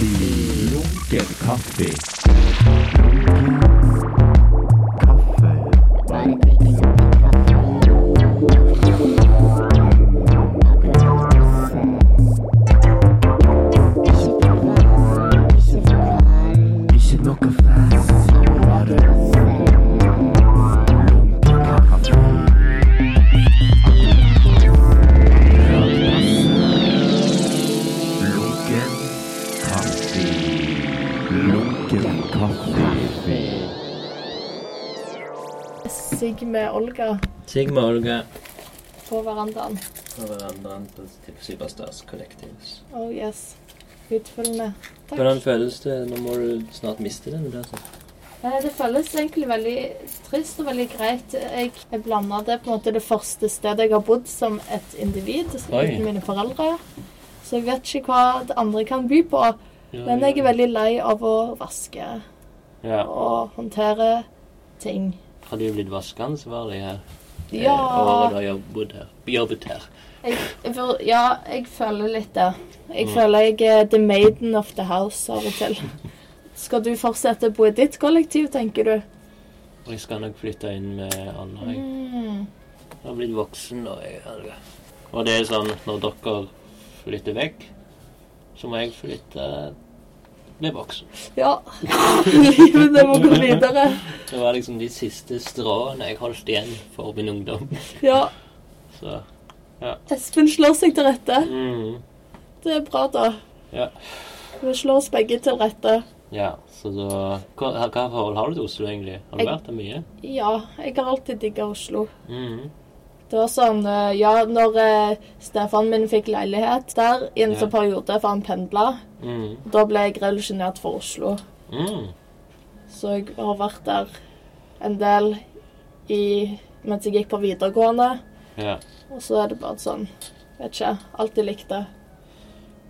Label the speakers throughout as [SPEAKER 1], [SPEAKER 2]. [SPEAKER 1] Lunken kaffe. Kaffe. Ikke noe fast. Bare lunken kaffe. Lunken kaffe. Lunken kaffe.
[SPEAKER 2] Sigme Olga
[SPEAKER 3] Sigma Olga
[SPEAKER 2] på verandaen.
[SPEAKER 3] og verandaen på Superstars Collectives.
[SPEAKER 2] Oh yes. Utfyllende. Takk.
[SPEAKER 3] Hvordan føles det? Nå må du snart miste den. altså. Der, så.
[SPEAKER 2] Eh, Det føles egentlig veldig trist og veldig greit. Jeg, jeg blanda det på en måte det første stedet jeg har bodd som et individ,
[SPEAKER 3] Oi.
[SPEAKER 2] uten mine foreldre. Så jeg vet ikke hva det andre kan by på. Men jeg er veldig lei av å vaske
[SPEAKER 3] Ja.
[SPEAKER 2] og håndtere ting.
[SPEAKER 3] Har du blitt vaskeansvarlig her?
[SPEAKER 2] Ja,
[SPEAKER 3] Eh, Året du har jobbet her. Jobbet her.
[SPEAKER 2] jeg, jeg føl- ja, jeg føler litt det. Jeg
[SPEAKER 3] Mm.
[SPEAKER 2] føler jeg er the maiden of the house av og til. Skal du fortsette å bo i ditt kollektiv, tenker du?
[SPEAKER 3] Og jeg skal nok flytte inn med Anna. Jeg
[SPEAKER 2] Mm.
[SPEAKER 3] har blitt voksen nå. Jeg, Helge. og det er sånn når dere flytter vekk, så må jeg flytte bli voksen.
[SPEAKER 2] Ja. Livet det må gå videre.
[SPEAKER 3] Det var liksom de siste stråene jeg holdt igjen for min ungdom.
[SPEAKER 2] Ja.
[SPEAKER 3] Så
[SPEAKER 2] Espen slår seg til rette.
[SPEAKER 3] mm.
[SPEAKER 2] Det er bra, da.
[SPEAKER 3] Ja.
[SPEAKER 2] Vi slår oss begge til rette.
[SPEAKER 3] Ja, så da Hva, hva forhold har du til Oslo, egentlig? Har du
[SPEAKER 2] Jeg-
[SPEAKER 3] vært der mye?
[SPEAKER 2] Ja, jeg har alltid digga Oslo.
[SPEAKER 3] Mhm.
[SPEAKER 2] Det var sånn eh, Ja, når eh, Stefan min fikk leilighet der i en
[SPEAKER 3] Ja.
[SPEAKER 2] sånn periode, for han pendla,
[SPEAKER 3] Mhm.
[SPEAKER 2] da ble jeg revolusjonert for Oslo.
[SPEAKER 3] Mm.
[SPEAKER 2] Så jeg har vært der en del i, mens jeg gikk på videregående.
[SPEAKER 3] Ja.
[SPEAKER 2] Og så er det bare sånn Vet ikke. Alltid likt det.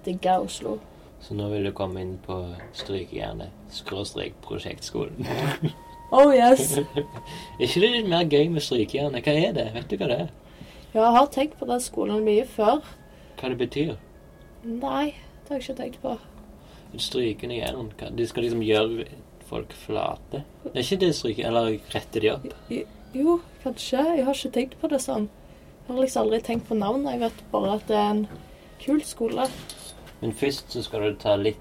[SPEAKER 2] Digga Oslo.
[SPEAKER 3] Så nå vil du komme inn på strykejernet. Skråstrek prosjektskolen.
[SPEAKER 2] Oh yes.
[SPEAKER 3] er ikke det litt mer gøy med strykejernet? Hva er det? Vet du hva det er?
[SPEAKER 2] Ja, jeg har tenkt på den skolen mye før.
[SPEAKER 3] Hva det betyr?
[SPEAKER 2] Nei, det har jeg ikke tenkt på.
[SPEAKER 3] Strykende jern. Hva- De skal liksom gjøre folk flate. Det er ikke det stryke... Eller rette de opp.
[SPEAKER 2] Jo, kanskje. Jeg har ikke tenkt på det sånn. Jeg har liksom aldri tenkt på navnet. Jeg vet bare at det er en kul skole.
[SPEAKER 3] Men først så skal du ta litt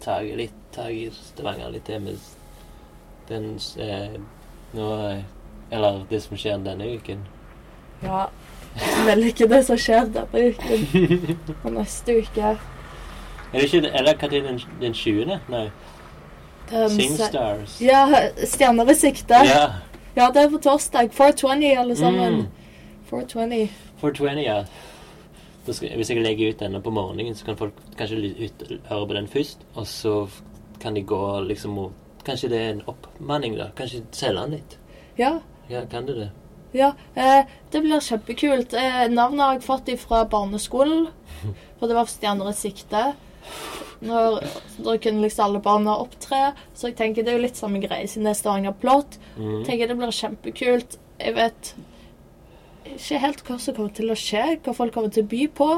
[SPEAKER 3] tak litt tak i Stavanger, litt det med s- den s- eh, Nå eh, Eller det som skjer denne uken.
[SPEAKER 2] Ja. Vel ikke det som skjer denne uken. Og neste uke.
[SPEAKER 3] Er det ikke det- Eller hva er det, den, den 20.? Nei.
[SPEAKER 2] Um, se-
[SPEAKER 3] Singstars.
[SPEAKER 2] ja, Stjerner i sikte.
[SPEAKER 3] Ja.
[SPEAKER 2] Ja, det er på torsdag. 420, alle sammen.
[SPEAKER 3] Mm.
[SPEAKER 2] 420.
[SPEAKER 3] 420, ja. Da skal, hvis jeg legger ut denne på morgenen, så kan folk kanskje ly- ut, høre på den først. Og så f- kan de gå liksom og Kanskje det er en oppmanning, da. Kanskje selge den litt.
[SPEAKER 2] Ja.
[SPEAKER 3] Ja, kan du det?
[SPEAKER 2] Ja, eh, det blir kjempekult. Eh, navnet har jeg fått fra barneskolen, for det var Stjerner i sikte. Når, da kunne liksom alle barna opptre, så jeg tenker det er jo litt samme greie siden det er Stavanger Plott.
[SPEAKER 3] Mhm.
[SPEAKER 2] Tenker det blir kjempekult. Jeg vet ikke helt hva som kommer til å skje, hva folk kommer til å by på.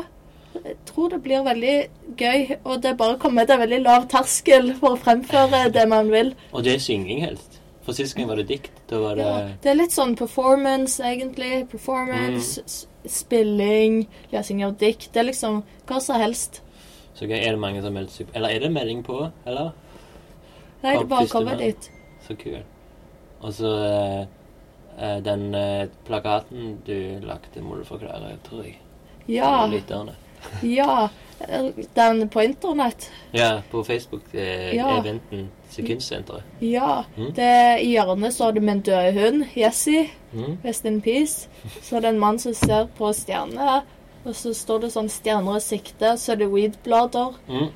[SPEAKER 2] Jeg tror det blir veldig gøy, og det er bare å komme til en veldig lav terskel for å fremføre det man vil.
[SPEAKER 3] Og det er synging helst. For sist gang var det dikt. Da var det
[SPEAKER 2] Ja, det er litt sånn performance, egentlig. Performance, s- spilling, lesing av dikt. Det er liksom hva som helst.
[SPEAKER 3] Så gøy. Er det mange som melder seg på? Eller er det melding på? Eller?
[SPEAKER 2] Nei, det er bare å
[SPEAKER 3] Kamp,
[SPEAKER 2] komme
[SPEAKER 3] festival.
[SPEAKER 2] dit.
[SPEAKER 3] Så kul. Og så eh, eh, den eh, plakaten du lagde, må du forklare, tror jeg.
[SPEAKER 2] Ja.
[SPEAKER 3] Til lytterne.
[SPEAKER 2] ja. Den på internett.
[SPEAKER 3] Ja, på eh, Facebook-eventen
[SPEAKER 2] Ja.
[SPEAKER 3] til Kunstsenteret.
[SPEAKER 2] Ja.
[SPEAKER 3] Mm.
[SPEAKER 2] Det er I hjørnet så har du min døde hund, Jesse.
[SPEAKER 3] Mm.
[SPEAKER 2] Rest in peace. Så er det en mann som ser på stjerner. Og så står det sånn 'stjerner i sikte', så er det weedblader.
[SPEAKER 3] Mm.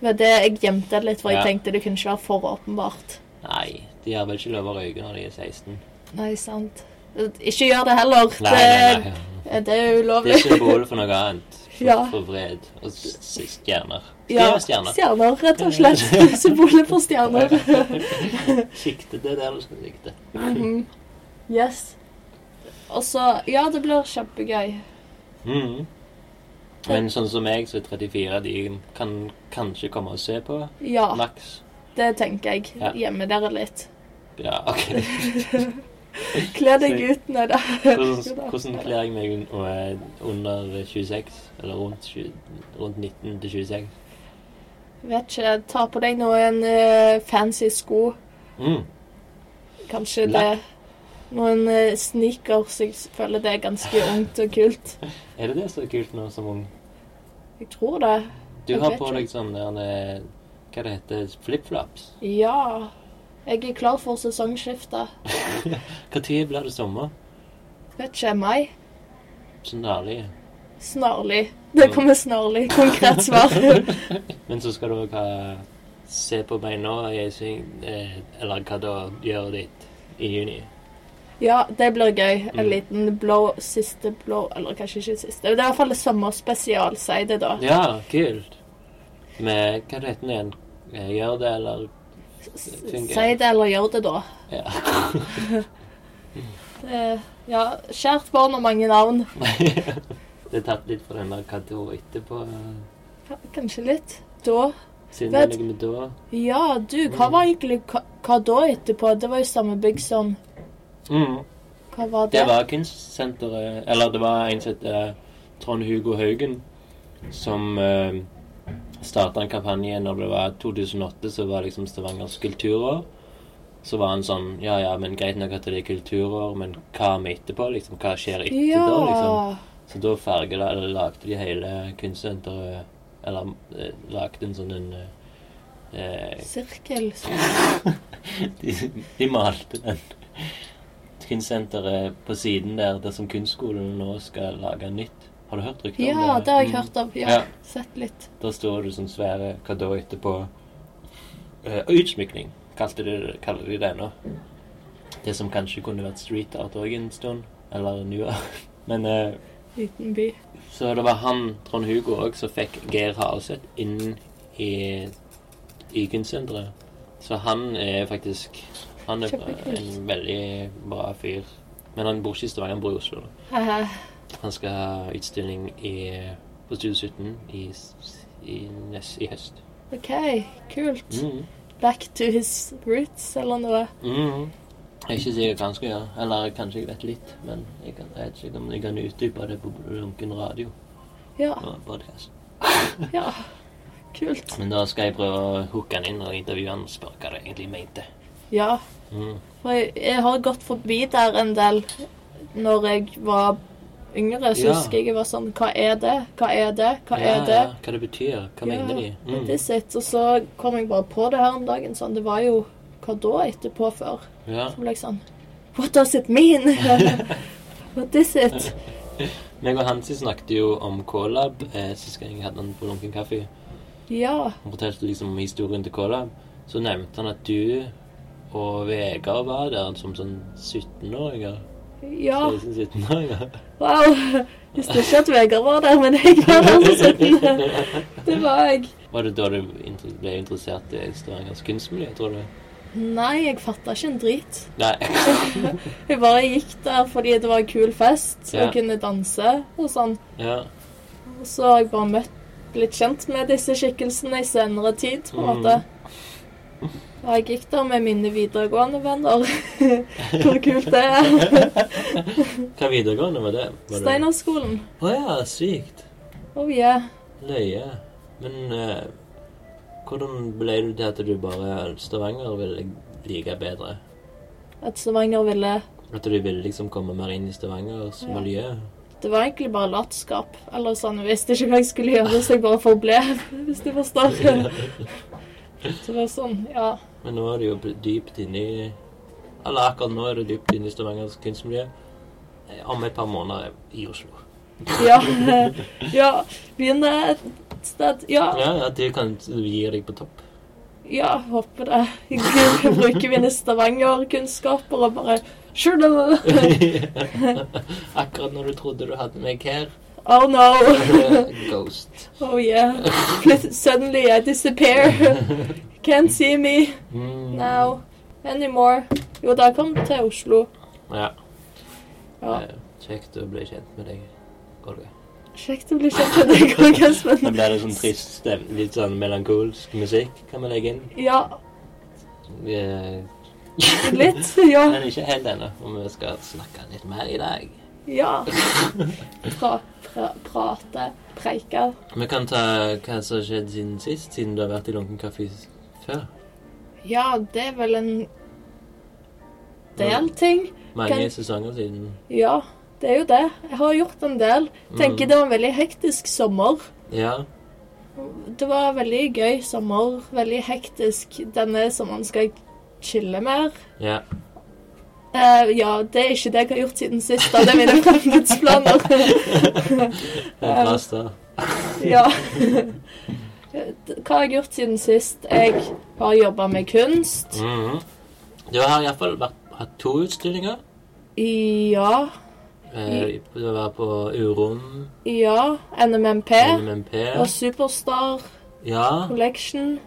[SPEAKER 2] Men det jeg gjemte det litt, for jeg
[SPEAKER 3] Ja.
[SPEAKER 2] tenkte det kunne ikke være for åpenbart.
[SPEAKER 3] Nei, de har vel ikke lov å røyke når de er 16.
[SPEAKER 2] Nei, sant. Ikke gjør det heller.
[SPEAKER 3] Nei, nei, nei.
[SPEAKER 2] Eh, Det er
[SPEAKER 3] Det er
[SPEAKER 2] ulovlig.
[SPEAKER 3] symbol for noe annet. For,
[SPEAKER 2] Ja.
[SPEAKER 3] for vred og s- s- stjerner.
[SPEAKER 2] Ja,
[SPEAKER 3] Stjernestjerner.
[SPEAKER 2] stjerner, rett og slett. Symbolet for stjerner.
[SPEAKER 3] Sikte, det er der du skal sikte.
[SPEAKER 2] Mhm. Yes. Og så Ja, det blir kjempegøy.
[SPEAKER 3] Mm. Men sånn som meg, så er 34 de kan kanskje komme og se på.
[SPEAKER 2] Ja,
[SPEAKER 3] Maks.
[SPEAKER 2] det tenker jeg.
[SPEAKER 3] Ja.
[SPEAKER 2] Gjemme dere litt.
[SPEAKER 3] Ja, OK.
[SPEAKER 2] Kle deg ut når det
[SPEAKER 3] Hvordan, hvordan kler jeg meg når jeg er under 26? Eller rundt, 20, rundt 19 til 26?
[SPEAKER 2] Vet ikke. Ta på deg noen eh, fancy sko.
[SPEAKER 3] Mm.
[SPEAKER 2] Kanskje
[SPEAKER 3] Black.
[SPEAKER 2] det Noen eh, sneakers. Jeg føler det er ganske ungt og kult.
[SPEAKER 3] Er det det som er kult nå som ung?
[SPEAKER 2] Jeg tror det.
[SPEAKER 3] Du
[SPEAKER 2] Jeg
[SPEAKER 3] har
[SPEAKER 2] vet
[SPEAKER 3] på
[SPEAKER 2] ikke.
[SPEAKER 3] deg sånn der eh, Hva det heter Flipflops.
[SPEAKER 2] Ja. Jeg er klar for sesongskiftet.
[SPEAKER 3] Når blir det sommer?
[SPEAKER 2] Vet ikke. Mai?
[SPEAKER 3] Sånn ærlig.
[SPEAKER 2] Snarlig. Det kommer snarlig. Konkret svar.
[SPEAKER 3] Men så skal du òg ha Se på meg nå, jeg syng, eh, eller hva da gjør ditt i juni.
[SPEAKER 2] Ja, det blir gøy. En
[SPEAKER 3] Mm.
[SPEAKER 2] liten blå siste blå Eller kanskje ikke siste. Det er i hvert fall et sommerspesial, sier det da.
[SPEAKER 3] Ja, kult. Med hva det heter den igjen? Eh, Gjør det, eller
[SPEAKER 2] S-
[SPEAKER 3] fungerer.
[SPEAKER 2] Si det, eller gjør det, da.
[SPEAKER 3] Ja.
[SPEAKER 2] Det, Eh, ja, kjært barn har mange navn.
[SPEAKER 3] det er tatt litt fra den der kategorien etterpå. eh,
[SPEAKER 2] K- Kanskje litt. Da.
[SPEAKER 3] Siden det er
[SPEAKER 2] Vet-
[SPEAKER 3] noe med da.
[SPEAKER 2] Ja, du, hva
[SPEAKER 3] Mm.
[SPEAKER 2] var egentlig hva, hva da etterpå? Det var jo samme bygg som
[SPEAKER 3] Mm.
[SPEAKER 2] Hva var det?
[SPEAKER 3] Det var kunstsenteret Eller det var en som heter Trond Hugo Haugen, som eh, starta en kampanje når det var 2008, så var liksom Stavangers kulturår. Så var han sånn Ja, ja, men greit nok at det er kulturår, men hva med etterpå? Liksom, hva skjer etter
[SPEAKER 2] ja.
[SPEAKER 3] da? liksom? Så da farget, eller lagde de hele kunstsenteret Eller eh, lagde en sånn en eh, eh,
[SPEAKER 2] Sirkel.
[SPEAKER 3] de, de malte den. Kunstsenteret på siden der, der som kunstskolen nå skal lage nytt. Har du hørt rykter om det?
[SPEAKER 2] Ja, det har jeg
[SPEAKER 3] Mm.
[SPEAKER 2] hørt av. Ja,
[SPEAKER 3] Ja.
[SPEAKER 2] sett litt.
[SPEAKER 3] Der står det sånn svære hva da etterpå. Eh, utsmykning, kalte de, kaller de det nå. Det som kanskje kunne vært street art òg en stund. Eller nå. Men eh,
[SPEAKER 2] Liten by.
[SPEAKER 3] så det var han, Trond Hugo òg, som fikk Geir Hareseth inn i, i kunstsenteret. Så han er faktisk Han er
[SPEAKER 2] Kjempekult.
[SPEAKER 3] en veldig bra fyr. Men han bor ikke i Stavanger, han bor i Oslo. da.
[SPEAKER 2] Haha.
[SPEAKER 3] Han skal ha utstilling i, på 2017 i, s- i, nest, i høst.
[SPEAKER 2] OK, kult.
[SPEAKER 3] Mhm.
[SPEAKER 2] Back to his roots, eller noe.
[SPEAKER 3] Mhm. Jeg er ikke sikker hva han skal gjøre. Eller kanskje jeg vet litt. Men jeg, kan, jeg vet ikke om jeg kan utdype det på lunken radio.
[SPEAKER 2] Ja.
[SPEAKER 3] og podcast.
[SPEAKER 2] Ja, kult.
[SPEAKER 3] Men da skal jeg prøve å hooke han inn og intervjue han og spørre hva det egentlig mente.
[SPEAKER 2] Ja,
[SPEAKER 3] Mm.
[SPEAKER 2] for jeg, jeg har gått forbi der en del når jeg var yngre. Så
[SPEAKER 3] Ja.
[SPEAKER 2] husker jeg jeg var sånn Hva er det? Hva er det? Hva
[SPEAKER 3] ja,
[SPEAKER 2] er det?
[SPEAKER 3] Ja, hva det betyr?
[SPEAKER 2] Ja,
[SPEAKER 3] Hva mener de? Mm.
[SPEAKER 2] Det sitt. Og så kom jeg bare på det her om dagen. Sånn, det var jo Hva da etterpå før?
[SPEAKER 3] Ja.
[SPEAKER 2] Så ble jeg sånn What does it mean? What is it?
[SPEAKER 3] Meg og Hansi snakket jo om Colab eh, sist gang jeg hadde han på Lunken kaffe.
[SPEAKER 2] Ja.
[SPEAKER 3] Han fortalte liksom om historien til Colab. Så nevnte han at du og Vegard var der som sånn 17-åringer.
[SPEAKER 2] Ja.
[SPEAKER 3] 16-17-åringer.
[SPEAKER 2] Wow. Visste ikke at Vegard var der, men jeg var der på 17. Det var jeg.
[SPEAKER 3] Var det da du inter- ble interessert i Stavangers kunstmiljø, tror du?
[SPEAKER 2] Nei, jeg fatta ikke en drit.
[SPEAKER 3] Nei.
[SPEAKER 2] Jeg bare gikk der fordi det var en kul fest, så jeg
[SPEAKER 3] Ja.
[SPEAKER 2] kunne danse og sånn.
[SPEAKER 3] ja.
[SPEAKER 2] Og så har jeg bare møtt, blitt kjent med disse skikkelsene i senere tid, på en måte. Og jeg gikk der med mine videregående venner. Hvor kult det er.
[SPEAKER 3] Hva videregående var det? Var det-
[SPEAKER 2] Steinerskolen.
[SPEAKER 3] Å ja, sykt.
[SPEAKER 2] Oh yeah.
[SPEAKER 3] Løye. Men eh, hvordan ble du til at du bare Stavanger ville like bedre?
[SPEAKER 2] At Stavanger ville
[SPEAKER 3] At du ville liksom komme mer inn i Stavangers
[SPEAKER 2] Ja.
[SPEAKER 3] miljø?
[SPEAKER 2] Det var egentlig bare latskap. Eller sånn, jeg visste ikke hva jeg skulle gjøre, så jeg bare forble, hvis du forstår. Så det var sånn, ja.
[SPEAKER 3] Men nå er du jo dypt inne i Eller akkurat nå er du dypt inne i Stavangers kunstmiljø. Eh, Om et par måneder i Oslo.
[SPEAKER 2] Ja. ja. Begynne et sted. Ja.
[SPEAKER 3] Ja, ja, du kan du gir deg på topp.
[SPEAKER 2] Ja, håper det. Gud, bruker mine Stavanger-kunnskaper og bare Sure, no.
[SPEAKER 3] akkurat når du trodde du hadde meg her.
[SPEAKER 2] Oh no.
[SPEAKER 3] Ghost.
[SPEAKER 2] Oh yeah. Plut- Suddenly I disappear. Can't see me
[SPEAKER 3] Mm.
[SPEAKER 2] now anymore. Jo, da kom jeg til Oslo.
[SPEAKER 3] Ja.
[SPEAKER 2] Ja.
[SPEAKER 3] Eh, Kjekt å bli kjent med deg, Golga.
[SPEAKER 2] Kjekt å bli kjent med deg òg,
[SPEAKER 3] Da
[SPEAKER 2] Espen.
[SPEAKER 3] blir det sånn trist, stem- litt sånn melankolsk musikk kan vi legge inn.
[SPEAKER 2] Ja,
[SPEAKER 3] Eh,
[SPEAKER 2] litt. Ja.
[SPEAKER 3] Men ikke helt ennå, og vi skal snakke litt mer i dag.
[SPEAKER 2] ja. Fra, pra, prate, preike.
[SPEAKER 3] Vi kan ta hva som har skjedd siden sist, siden du har vært i Lunken kaffe s- før.
[SPEAKER 2] Ja, det er vel en del ting.
[SPEAKER 3] Mange
[SPEAKER 2] Kan-
[SPEAKER 3] sesonger siden.
[SPEAKER 2] Ja, det er jo det. Jeg har gjort en del. Tenker det var en veldig hektisk sommer.
[SPEAKER 3] Ja.
[SPEAKER 2] Det var veldig gøy sommer. Veldig hektisk. Denne sommeren skal jeg chille mer.
[SPEAKER 3] Ja.
[SPEAKER 2] Eh, ja, det er ikke det jeg har gjort siden sist. da. Det er mine fremtidsplaner.
[SPEAKER 3] Det er bra start.
[SPEAKER 2] ja. Hva har jeg gjort siden sist? Jeg har jobba med kunst.
[SPEAKER 3] Mhm. Du har iallfall hatt to utstillinger.
[SPEAKER 2] Ja.
[SPEAKER 3] Eh, du var på Urom,
[SPEAKER 2] Ja. NMMP.
[SPEAKER 3] NMMP
[SPEAKER 2] Og Superstar
[SPEAKER 3] Ja.
[SPEAKER 2] Collection.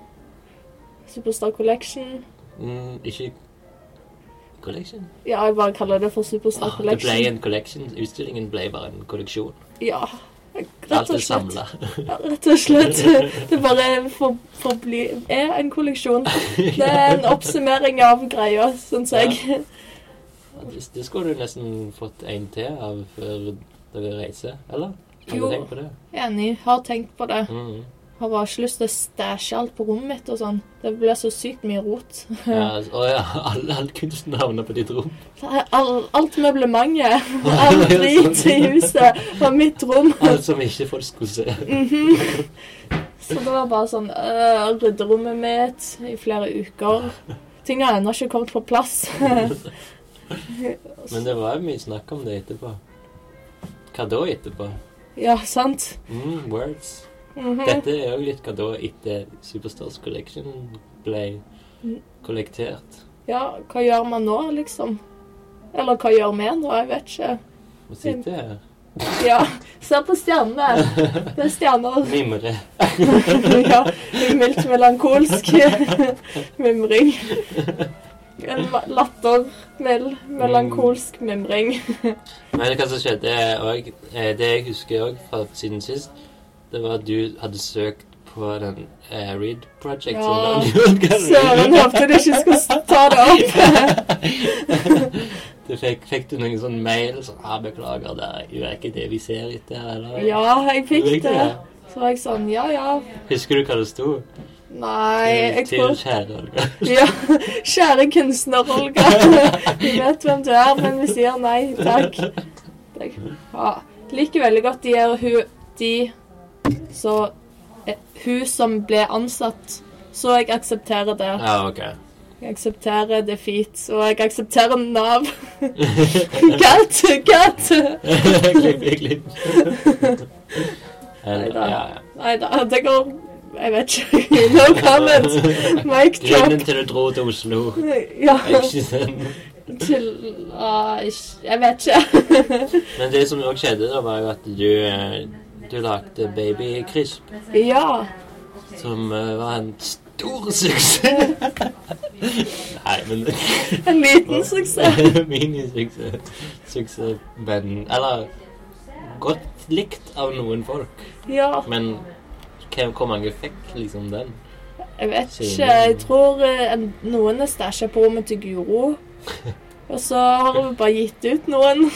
[SPEAKER 2] Superstar Collection.
[SPEAKER 3] Mm, ikke Collection?
[SPEAKER 2] Ja, jeg bare kaller det for Superstar
[SPEAKER 3] Åh, Ah, det ble
[SPEAKER 2] Collection.
[SPEAKER 3] en collection. Utstillingen ble bare en kolleksjon.
[SPEAKER 2] Ja.
[SPEAKER 3] Alt
[SPEAKER 2] Rett
[SPEAKER 3] er
[SPEAKER 2] og slett.
[SPEAKER 3] samla.
[SPEAKER 2] Ja, rett og slett. Det bare for, forbli, er en kolleksjon. Det er en oppsummering av greia, syns jeg.
[SPEAKER 3] Det, det skulle du nesten fått en til av før dere reiser, eller? Har du
[SPEAKER 2] Jo.
[SPEAKER 3] tenkt på det?
[SPEAKER 2] Enig. Har tenkt på det.
[SPEAKER 3] Mhm.
[SPEAKER 2] Har bare ikke lyst til å stæsje alt på rommet mitt og sånn. Det blir så sykt mye rot.
[SPEAKER 3] Ja, altså, å ja, all, all kunsten havner på ditt rom.
[SPEAKER 2] All, alt møblementet, all drit i huset var mitt rom.
[SPEAKER 3] Alt som ikke folk skulle se.
[SPEAKER 2] Så det var bare sånn øh, Rydde rommet mitt i flere uker. Ting har ennå ikke kommet på plass.
[SPEAKER 3] Men det var jo mye snakk om det etterpå. Hva da etterpå?
[SPEAKER 2] Ja, sant?
[SPEAKER 3] Mm, words.
[SPEAKER 2] Mhm.
[SPEAKER 3] Dette er jo litt hva da etter Superstars Collection ble
[SPEAKER 2] Mm.
[SPEAKER 3] kollektert.
[SPEAKER 2] Ja, hva gjør man nå, liksom? Eller hva gjør vi nå? Jeg vet ikke.
[SPEAKER 3] Og sitter her.
[SPEAKER 2] Ja, se på stjernene. Det er stjerner.
[SPEAKER 3] Mimre.
[SPEAKER 2] Ja, mildt melankolsk mimring. En ma- latter, mild, melankolsk mimring.
[SPEAKER 3] Men hva som skjedde òg Det jeg husker òg fra siden sist, det var at du hadde søkt på den eh, Read Project.
[SPEAKER 2] Ja.
[SPEAKER 3] som du hadde gjort.
[SPEAKER 2] Søren, håpte du ikke skulle s- ta det opp.
[SPEAKER 3] Du fikk, fikk du noen sånn mail sånn ah, 'Beklager, det er jo ikke det vi ser etter', eller?
[SPEAKER 2] Ja, jeg fikk
[SPEAKER 3] Fikk du
[SPEAKER 2] det. Så var jeg sånn, ja, ja.
[SPEAKER 3] Husker du hva det sto? Eh,
[SPEAKER 2] Nei, jeg
[SPEAKER 3] Til
[SPEAKER 2] tror
[SPEAKER 3] kjære Olga.
[SPEAKER 2] Ja, kjære kunstner Olga. Vi vet hvem du er, men vi sier nei takk. takk. Ja, liker veldig godt de er hun de så eh, Hun som ble ansatt. Så jeg aksepterer det.
[SPEAKER 3] Ja, OK.
[SPEAKER 2] Jeg aksepterer defeat, og jeg aksepterer Nav. Cut! Cut!
[SPEAKER 3] klipp, klipp.
[SPEAKER 2] Neida.
[SPEAKER 3] Ja, ja.
[SPEAKER 2] Nei da, det går Jeg vet ikke. No comments. Mic drop.
[SPEAKER 3] Grunnen til du dro til Oslo
[SPEAKER 2] Ja.
[SPEAKER 3] er ikke sånn.
[SPEAKER 2] Til ah, ikke- Jeg vet ikke.
[SPEAKER 3] Men det som òg skjedde, da, var jo at du, eh, du lagde Baby Crisp,
[SPEAKER 2] Ja.
[SPEAKER 3] som eh, var en stor suksess. Nei, men
[SPEAKER 2] En liten suksess.
[SPEAKER 3] Minisuksess. Suksess, men Eller godt likt av noen folk.
[SPEAKER 2] Ja,
[SPEAKER 3] Men hvem- hvor mange fikk liksom den?
[SPEAKER 2] jeg vet ikke. Jeg tror eh, en- noen er stæsja på rommet til Guro. Og så har hun bare gitt ut noen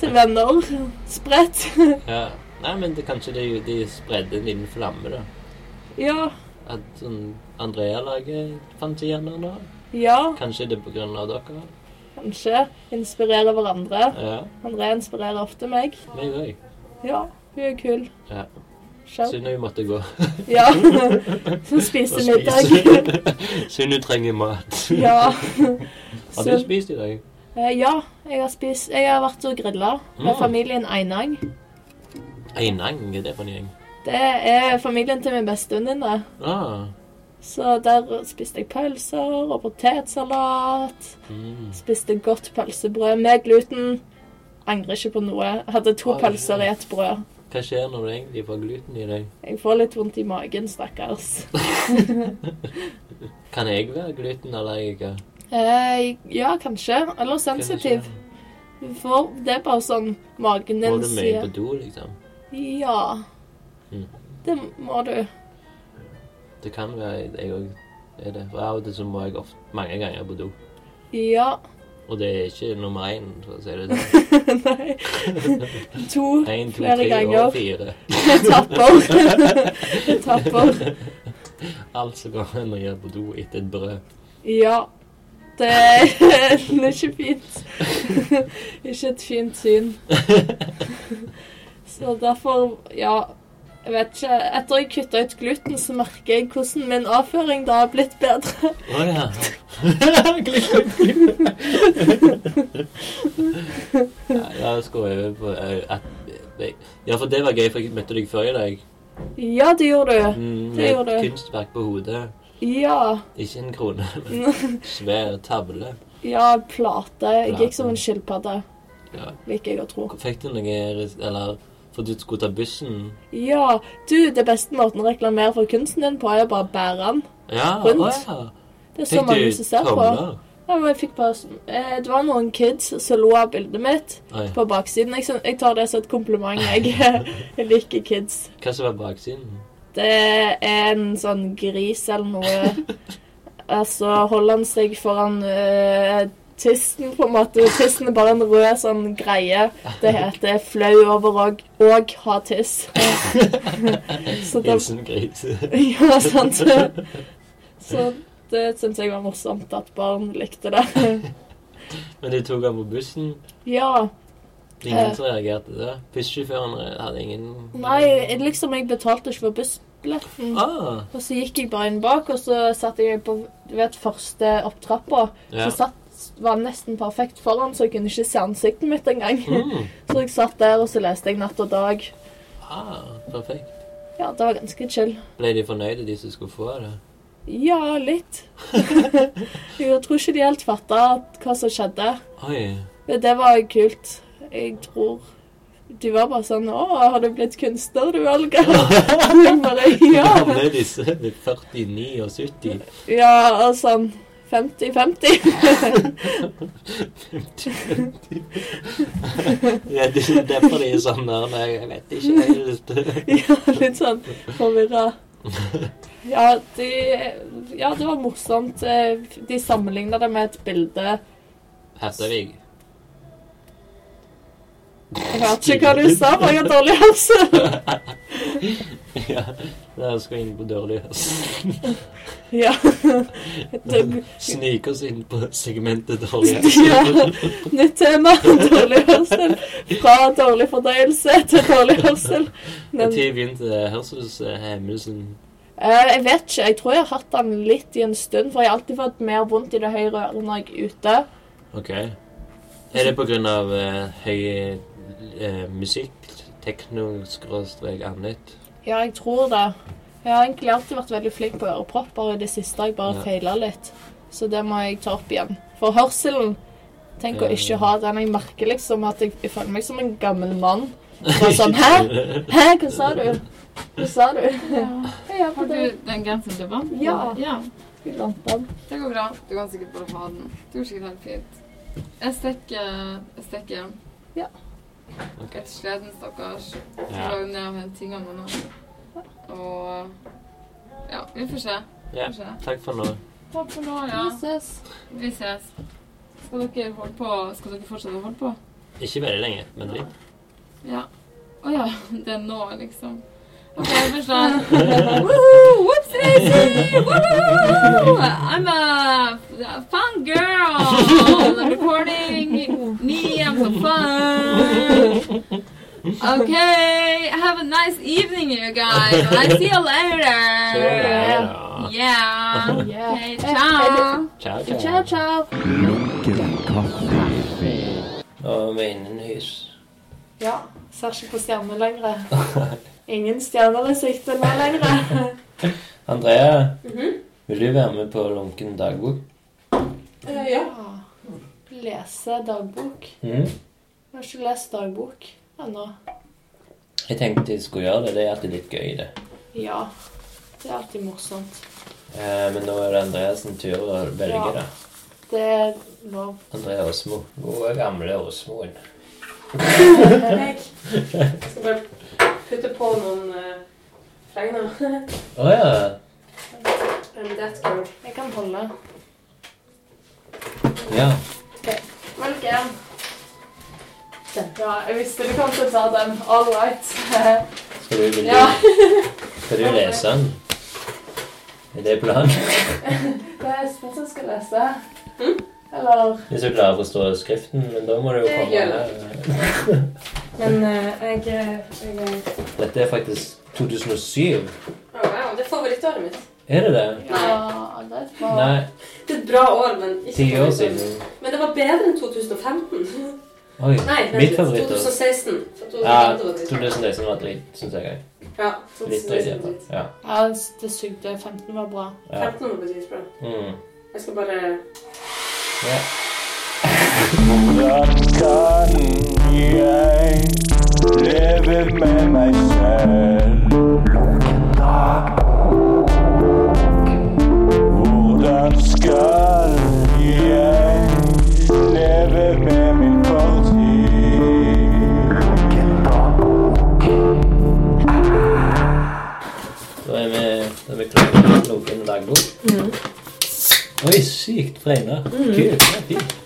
[SPEAKER 2] til venner. Spredt.
[SPEAKER 3] Ja. Nei, men det, kanskje det, de spredde en liten flamme, da.
[SPEAKER 2] Ja.
[SPEAKER 3] At sånn Andrea-laget fant igjennom nå.
[SPEAKER 2] Ja,
[SPEAKER 3] Kanskje det er på grunn av dere.
[SPEAKER 2] kanskje. Inspirere hverandre.
[SPEAKER 3] Ja,
[SPEAKER 2] André inspirerer ofte meg.
[SPEAKER 3] meg òg.
[SPEAKER 2] Ja, hun er kul.
[SPEAKER 3] Ja.
[SPEAKER 2] Sjøl.
[SPEAKER 3] Synd hun måtte gå.
[SPEAKER 2] Ja. Så spiste
[SPEAKER 3] og
[SPEAKER 2] middag.
[SPEAKER 3] spise. Synd hun trenger mat.
[SPEAKER 2] Ja.
[SPEAKER 3] Har du
[SPEAKER 2] Så,
[SPEAKER 3] spist i dag?
[SPEAKER 2] eh, ja, jeg har spist Jeg har vært og grilla med
[SPEAKER 3] Mm.
[SPEAKER 2] familien Einang.
[SPEAKER 3] Einang, er det for en gjeng?
[SPEAKER 2] Det er familien til min bestevenninne.
[SPEAKER 3] Ah.
[SPEAKER 2] Så der spiste jeg pølser og potetsalat.
[SPEAKER 3] Mm.
[SPEAKER 2] Spiste godt pølsebrød med gluten. Angrer ikke på noe. Jeg Hadde to
[SPEAKER 3] Oi.
[SPEAKER 2] pølser i ett brød.
[SPEAKER 3] Hva skjer når du egentlig får gluten i deg?
[SPEAKER 2] Jeg får litt vondt i magen, stakkars.
[SPEAKER 3] Kan jeg være glutenallergiker?
[SPEAKER 2] Eh, ja, kanskje. Eller
[SPEAKER 3] Hva er det som
[SPEAKER 2] sensitiv.
[SPEAKER 3] skjer?
[SPEAKER 2] For det er bare sånn magen
[SPEAKER 3] Går
[SPEAKER 2] din
[SPEAKER 3] du mye
[SPEAKER 2] sier
[SPEAKER 3] på do, liksom?
[SPEAKER 2] Ja.
[SPEAKER 3] Mm.
[SPEAKER 2] Det må du.
[SPEAKER 3] Det kan være jeg òg er det. For av og til så må jeg ofte, mange ganger på do.
[SPEAKER 2] Ja.
[SPEAKER 3] Og det er ikke nummer én, for å si det sånn.
[SPEAKER 2] Nei. To
[SPEAKER 3] Én, to,
[SPEAKER 2] flere
[SPEAKER 3] tre og
[SPEAKER 2] ganger.
[SPEAKER 3] fire.
[SPEAKER 2] Etapper. Etapper.
[SPEAKER 3] Alt som går an å gjøre på do etter et brød.
[SPEAKER 2] Ja. Det er det er ikke fint. Ikke et fint syn. Så derfor, ja Jeg vet ikke. Etter jeg kutta ut gluten, så merker jeg hvordan min avføring da har blitt bedre.
[SPEAKER 3] Å ja. Glipp, glipp, glipp. Ja, La oss gå over på eh, at Ja, for det var gøy, for jeg møtte deg før i dag.
[SPEAKER 2] Ja, det gjorde du.
[SPEAKER 3] Mm,
[SPEAKER 2] Det
[SPEAKER 3] Med
[SPEAKER 2] gjorde
[SPEAKER 3] et
[SPEAKER 2] jeg.
[SPEAKER 3] kunstverk på hodet.
[SPEAKER 2] Ja.
[SPEAKER 3] Ikke en krone, men svær tavle.
[SPEAKER 2] Ja, plate. Jeg gikk som en skilpadde,
[SPEAKER 3] Ja.
[SPEAKER 2] liker jeg å tro.
[SPEAKER 3] Fikk du noe res- Eller for du skulle ta bussen?
[SPEAKER 2] Ja, du, det beste måten å reklamere for kunsten din på, er å bare bære den.
[SPEAKER 3] Ja, å
[SPEAKER 2] Rundt.
[SPEAKER 3] ja.
[SPEAKER 2] Det er så
[SPEAKER 3] Fikk
[SPEAKER 2] mange
[SPEAKER 3] du
[SPEAKER 2] som ser på.
[SPEAKER 3] tomler?
[SPEAKER 2] Ja, men jeg fikk bare, sånn- eh, det var noen kids som lo av bildet mitt
[SPEAKER 3] Nei.
[SPEAKER 2] på baksiden. Jeg, syn- jeg tar det som et kompliment. Jeg, jeg liker kids.
[SPEAKER 3] Hva som var baksiden?
[SPEAKER 2] Det er en sånn gris eller noe. Altså holder han seg foran eh, tissen, på en måte. Tissen er bare en rød sånn greie. Det heter flau over og, og ha tiss. Så Sånn. det
[SPEAKER 3] Hilsen gris.
[SPEAKER 2] Ja, sant. Så det syns jeg var morsomt at barn likte det.
[SPEAKER 3] Men de tok han på bussen.
[SPEAKER 2] Ja.
[SPEAKER 3] Ingen
[SPEAKER 2] Eh.
[SPEAKER 3] som reagerte da? Bussjåføren re- hadde ingen
[SPEAKER 2] Nei, jeg- liksom jeg betalte ikke for bussbilletten.
[SPEAKER 3] Ah,
[SPEAKER 2] Og så gikk jeg bare inn bak, og så satt jeg på du vet, første opptrappa.
[SPEAKER 3] ja.
[SPEAKER 2] Så satt var nesten perfekt foran, så jeg kunne ikke se ansiktet mitt engang.
[SPEAKER 3] Mm.
[SPEAKER 2] Så jeg satt der, og så leste jeg Natt og dag.
[SPEAKER 3] Ah, perfekt.
[SPEAKER 2] Ja, det var ganske chill.
[SPEAKER 3] Ble de fornøyde, de som skulle få det?
[SPEAKER 2] Ja, litt. Jeg tror ikke de helt fatta hva som skjedde.
[SPEAKER 3] Oi.
[SPEAKER 2] Men det var kult. Jeg tror De var bare sånn 'Å, har du blitt kunstner, du, Olga?' Jeg bare,
[SPEAKER 3] Ja.
[SPEAKER 2] ja.
[SPEAKER 3] Gamle disse. 49 og 70.
[SPEAKER 2] ja, og sånn 50-50.
[SPEAKER 3] Ja, det er derfor de er sånn der. Nei, jeg vet ikke helt.
[SPEAKER 2] ja, litt sånn forvirra. Ja, de, ja, det var morsomt. Eh, De sammenligna det med et bilde
[SPEAKER 3] Hertevig.
[SPEAKER 2] Jeg hørte ikke hva du sa, for jeg har dårlig helse.
[SPEAKER 3] Ja, da skal vi inn på dårlig hørsel.
[SPEAKER 2] Ja. eh, Det,
[SPEAKER 3] Snike oss inn på segmentet dårlig
[SPEAKER 2] Ja,
[SPEAKER 3] hørsel.
[SPEAKER 2] nytt tema. Dårlig hørsel. Fra dårlig fordøyelse til dårlig hørsel. Men
[SPEAKER 3] Når begynte hørselshendelsen?
[SPEAKER 2] eh, jeg vet ikke. Jeg tror jeg har hatt den litt i en stund, for jeg har alltid fått mer vondt i det høyre øret når jeg er ute.
[SPEAKER 3] Ok. Er det på grunn av eh, høy eh, musikk, tekno-skråstrek annet?
[SPEAKER 2] Ja, jeg tror det. Jeg har egentlig alltid vært veldig flink på ørepropper, og i det siste har jeg bare
[SPEAKER 3] Ja.
[SPEAKER 2] feila litt. Så det må jeg ta opp igjen. For hørselen Tenk å
[SPEAKER 3] Ja.
[SPEAKER 2] ikke ha den. Jeg merker liksom at jeg, jeg føler meg som en gammel mann. Bare sånn Hæ? Hæ, hva sa du? Hva sa du? Ja,
[SPEAKER 4] Har du den genseren du vant? på?
[SPEAKER 2] Ja.
[SPEAKER 4] ja.
[SPEAKER 2] Jeg vant den.
[SPEAKER 4] Det går bra. Du kan sikkert bare få ha den. Det går sikkert helt fint. Jeg stikker Jeg stikker
[SPEAKER 2] Ja.
[SPEAKER 3] Ok.
[SPEAKER 4] etter sleden, stakkars.
[SPEAKER 3] Ja.
[SPEAKER 4] Så går jeg ned og henter tingene mine. Og Ja, vi får se. Vi
[SPEAKER 3] Ja.
[SPEAKER 4] får se.
[SPEAKER 3] Takk for nå.
[SPEAKER 4] Takk for nå, ja.
[SPEAKER 2] Jesus.
[SPEAKER 4] Vi ses. Skal dere holde på? Skal dere fortsette å holde på?
[SPEAKER 3] Ikke veldig lenge, men litt.
[SPEAKER 4] Ja. Å ja. Det er nå, liksom. OK, vi får se. Woohoo! Whoops daisy! Woohoo! I'm a, a fun girl! I'm recording me, I'm so fun! Okay, have a nice evening, you guys. I see you
[SPEAKER 2] Eh,
[SPEAKER 3] Så er det
[SPEAKER 4] later.
[SPEAKER 3] da.
[SPEAKER 4] Yeah.
[SPEAKER 2] Yeah.
[SPEAKER 4] Okay, ciao.
[SPEAKER 3] Ciao,
[SPEAKER 2] Ciao,
[SPEAKER 3] ciao.
[SPEAKER 2] ciao.
[SPEAKER 1] Lunken kaffefil.
[SPEAKER 3] Og med innenhus.
[SPEAKER 2] Ja, ser ikke på stjerner lenger. Ingen stjerner i sikte nå lenger.
[SPEAKER 3] Andrea,
[SPEAKER 2] Mhm.
[SPEAKER 3] vil du være med på Lunken dagbok?
[SPEAKER 2] Eh, ja. Lese dagbok. Jeg har ikke lest dagbok ennå.
[SPEAKER 3] Jeg tenkte jeg skulle gjøre det. Det er alltid litt gøy, det.
[SPEAKER 2] Ja. Det er alltid morsomt.
[SPEAKER 3] Eh, men nå er det Andreas sin tur å velge,
[SPEAKER 2] Ja.
[SPEAKER 3] da.
[SPEAKER 2] Det er lov.
[SPEAKER 3] André Åsmo. Gode, gamle Åsmoen.
[SPEAKER 5] Jeg skal bare putte på noen eh, fregner.
[SPEAKER 3] Å ja.
[SPEAKER 5] En death card.
[SPEAKER 2] Jeg kan holde.
[SPEAKER 3] Ja.
[SPEAKER 2] Velg en. Ja, jeg visste du kom til å ta den. All right.
[SPEAKER 3] Skal du, vil
[SPEAKER 2] Ja.
[SPEAKER 3] du, skal du lese den? Er det planen?
[SPEAKER 2] Det er Espen som skal lese. Hm? Eller
[SPEAKER 3] Hvis du klarer å forstå skriften, men da må du jo
[SPEAKER 5] Det
[SPEAKER 3] komme
[SPEAKER 5] gjør
[SPEAKER 3] her.
[SPEAKER 5] Men eh, jeg, eh, jeg
[SPEAKER 3] Dette er faktisk 2007.
[SPEAKER 5] Å, Wow, det er favorittåret mitt.
[SPEAKER 3] Er det det?
[SPEAKER 2] Ja, det er et bra.
[SPEAKER 3] Nei,
[SPEAKER 5] Det er et bra år, men ikke sånn.
[SPEAKER 3] ti år
[SPEAKER 5] favorittåret.
[SPEAKER 3] siden.
[SPEAKER 5] Men det var bedre enn 2015.
[SPEAKER 3] Oi,
[SPEAKER 5] Nei, vent
[SPEAKER 3] mitt
[SPEAKER 5] litt.
[SPEAKER 3] favorittår.
[SPEAKER 5] 2016. For 2015
[SPEAKER 3] Ja,
[SPEAKER 5] var det.
[SPEAKER 3] 2016 var dritt, syns jeg.
[SPEAKER 5] Ja,
[SPEAKER 3] Litt dritt, i hvert
[SPEAKER 5] 2016.
[SPEAKER 3] fall. Ja.
[SPEAKER 2] Ja, det sugde. 15 var bra.
[SPEAKER 3] ja.
[SPEAKER 5] 15 var det dritbra.
[SPEAKER 3] Mm.
[SPEAKER 5] Jeg skal bare
[SPEAKER 3] ja.
[SPEAKER 6] Da kan jeg leve med meg selv. Hvordan skal jeg leve med min fortid?
[SPEAKER 3] Da er vi, da er vi klare til å logge inn dagbok. Oi, sykt fregna. Kult. det er fint.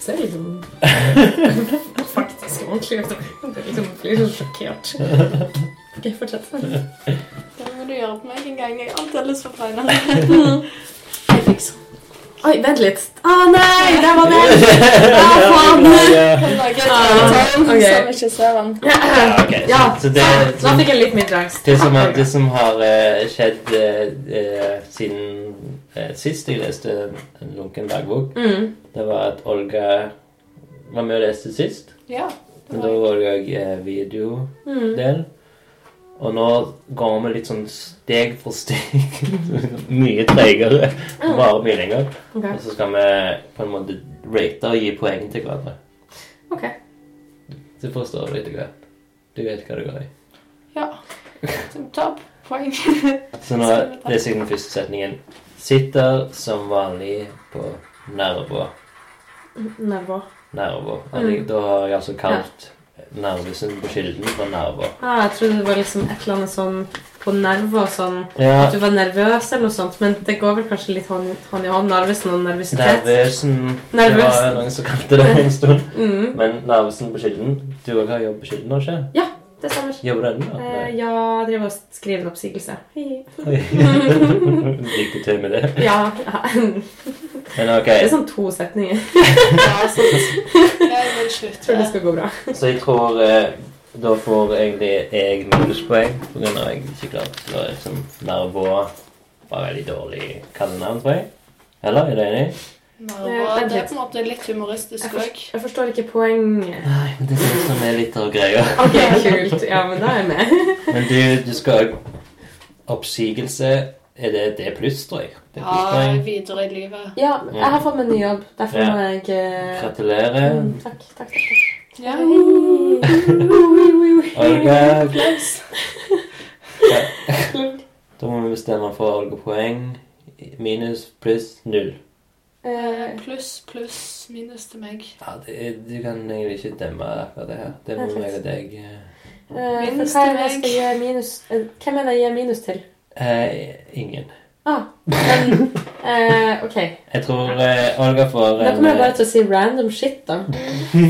[SPEAKER 5] Se litt om
[SPEAKER 7] liksom- Faktisk ordentlig. Liksom. Det er liksom, blir så sjokkert. Ok, fortsett.
[SPEAKER 2] Det må du gjøre på meg en gang. Jeg har alltid lyst på fregner.
[SPEAKER 7] Jeg fikser. Oi, vent litt. Å nei, der var den!
[SPEAKER 3] Ja,
[SPEAKER 2] Ah,
[SPEAKER 7] ok.
[SPEAKER 2] Som ikke ser den.
[SPEAKER 3] ok. Så, så det,
[SPEAKER 7] Nå
[SPEAKER 3] så,
[SPEAKER 7] fikk jeg litt mindre angst.
[SPEAKER 3] det som har, det som har eh, skjedd eh, eh, siden eh, sist jeg leste en lunken dagbok,
[SPEAKER 7] Mm.
[SPEAKER 3] det var at Olga var med og leste sist.
[SPEAKER 2] Ja.
[SPEAKER 3] Men da var det òg eh,
[SPEAKER 7] Mm.
[SPEAKER 3] videodel. Og nå går vi litt sånn steg for steg. mye tregere. Bare mye lenger.
[SPEAKER 7] Ok.
[SPEAKER 3] Og så skal vi på en måte rate og gi poeng til hverandre.
[SPEAKER 7] Ok.
[SPEAKER 3] Så forstår du etter hvert. Du vet hva du går i.
[SPEAKER 2] Topp poeng.
[SPEAKER 3] Så nå leser jeg den første setningen. Sitter som vanlig på nerver.
[SPEAKER 7] Nervå.
[SPEAKER 3] Nerver. Altså, Da har jeg altså kalt nervesen på kilden for nerver.
[SPEAKER 7] Ah, jeg trodde det var liksom et eller annet sånn på nerver og sånn.
[SPEAKER 3] Ja,
[SPEAKER 7] At du var nervøs eller noe sånt, men det går vel kanskje litt hånd, hånd i hånd. Nervesen og nervøsitet.
[SPEAKER 3] Nervøsen. Det
[SPEAKER 7] Nervøs.
[SPEAKER 3] var noen som kalte det en stund.
[SPEAKER 7] Mm.
[SPEAKER 3] Men Narvesen på Kilden Du òg har jobb på Kilden, har du ikke?
[SPEAKER 7] Det stemmer.
[SPEAKER 3] Jobber du ennå?
[SPEAKER 7] Eh, ja, jeg driver og skriver en oppsigelse. Hi.
[SPEAKER 3] Nei. Lykke til med det.
[SPEAKER 7] Ja. Det
[SPEAKER 3] Men ok,
[SPEAKER 7] er sånn to setninger.
[SPEAKER 2] Ja, sant. Jeg vil
[SPEAKER 7] Jeg tror
[SPEAKER 2] slutte.
[SPEAKER 7] det skal gå bra.
[SPEAKER 3] så jeg tror eh, da får egentlig jeg minuspoeng på grunn av jeg ikke klarte å liksom Narvoa var veldig dårlig kallenavn, tror jeg. Eller? Er du enig?
[SPEAKER 2] Nerver. Det er på en måte litt humoristisk òg.
[SPEAKER 7] Jeg forstår ikke poenget.
[SPEAKER 3] Nei, men det er det som er litt av greia.
[SPEAKER 7] Ok, kult. Ja, men da er jeg med.
[SPEAKER 3] Men du, du skal Oppsigelse Er det det pluss, tror jeg? Det er
[SPEAKER 2] Ja,
[SPEAKER 3] plusspoeng.
[SPEAKER 2] videre i livet.
[SPEAKER 7] Ja, jeg har fått meg ny jobb. Derfor
[SPEAKER 3] Ja.
[SPEAKER 7] må jeg eh,
[SPEAKER 3] Gratulerer.
[SPEAKER 7] mm, Takk, takk, takk. takk.
[SPEAKER 2] Ja.
[SPEAKER 3] Olga Ja. Da må vi bestemme for Olga poeng. Minus, pluss, null.
[SPEAKER 7] Eh,
[SPEAKER 2] Pluss, pluss, minus til meg.
[SPEAKER 3] Ja, det, er- du kan egentlig ikke dømme akkurat det her. Det må
[SPEAKER 7] Perfekt.
[SPEAKER 3] meg og deg eh.
[SPEAKER 7] eh, for
[SPEAKER 2] Minus
[SPEAKER 7] hva er
[SPEAKER 2] til
[SPEAKER 7] det jeg skal
[SPEAKER 2] meg.
[SPEAKER 7] gi minus eh, Hvem er det jeg gir minus til?
[SPEAKER 3] eh, Ingen.
[SPEAKER 7] Ah, men eh, Ok.
[SPEAKER 3] Jeg tror eh, Olga får
[SPEAKER 7] Da
[SPEAKER 3] en,
[SPEAKER 7] kommer jeg bare
[SPEAKER 3] eh,
[SPEAKER 7] til å si random shit, da.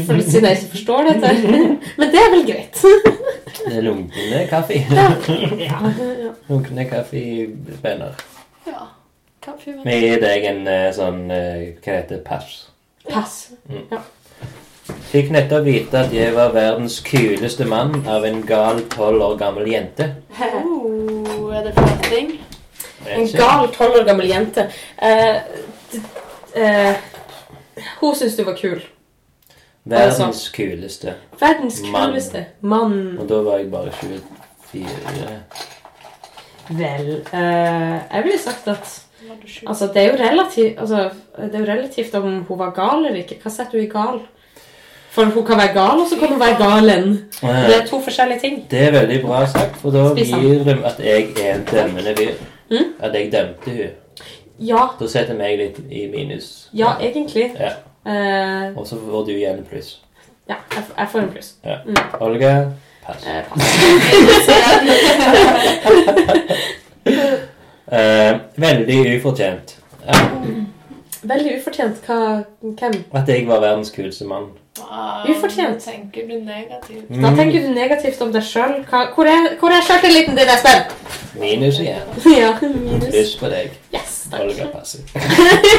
[SPEAKER 7] For Siden jeg ikke forstår dette. Men det er vel greit.
[SPEAKER 3] en lunkende eh, kaffe.
[SPEAKER 7] Ja, ja.
[SPEAKER 3] lunkende kaffespenner.
[SPEAKER 2] Ja. Kaffe,
[SPEAKER 3] Vi gir deg en eh, sånn eh, Hva heter det? Pass.
[SPEAKER 7] Pass.
[SPEAKER 3] Fikk nettopp vite at jeg var verdens kuleste mann av en gal tolv år gammel jente.
[SPEAKER 2] Oh, er det flørting?
[SPEAKER 7] En gal tolv år gammel jente. Eh, d- eh, hun syns du var kul. Altså.
[SPEAKER 3] Verdens kuleste.
[SPEAKER 7] Verdens
[SPEAKER 3] Mann.
[SPEAKER 7] kuleste mann.
[SPEAKER 3] Og da var jeg bare 24.
[SPEAKER 7] Vel eh, Jeg ville sagt at
[SPEAKER 2] Var du sjuk?
[SPEAKER 7] Altså, det er jo relativt altså, Det er jo relativt om hun var gal eller ikke. Hva setter du i gal? For hun kan være gal, og så kan hun være galen. Det
[SPEAKER 3] Eh,
[SPEAKER 7] er to forskjellige ting.
[SPEAKER 3] Det er veldig bra sagt, for da
[SPEAKER 7] Spis den.
[SPEAKER 3] gir de at jeg er en dømmende fyr.
[SPEAKER 7] Mm.
[SPEAKER 3] At jeg dømte hun.
[SPEAKER 7] Ja,
[SPEAKER 3] Da setter vi meg litt i minus.
[SPEAKER 7] ja, egentlig.
[SPEAKER 3] Ja.
[SPEAKER 7] Eh,
[SPEAKER 3] Og så får du igjen pluss.
[SPEAKER 7] ja, jeg, f- jeg får en pluss. Mm.
[SPEAKER 3] Olga, pass.
[SPEAKER 7] Eh, pass.
[SPEAKER 3] Eh, veldig ufortjent. Eh,
[SPEAKER 7] Veldig ufortjent. Hva, hvem?
[SPEAKER 3] at jeg var verdens kuleste mann.
[SPEAKER 7] Ufortjent.
[SPEAKER 2] Tenker du negativt?
[SPEAKER 3] Mm.
[SPEAKER 7] Da tenker du negativt om deg sjøl. Hvor er, hvor er sjøltilliten din, Espen?
[SPEAKER 3] Minus igjen.
[SPEAKER 7] ja, minus.
[SPEAKER 3] Pluss på deg.
[SPEAKER 7] Yes, takk.
[SPEAKER 3] Olga passer.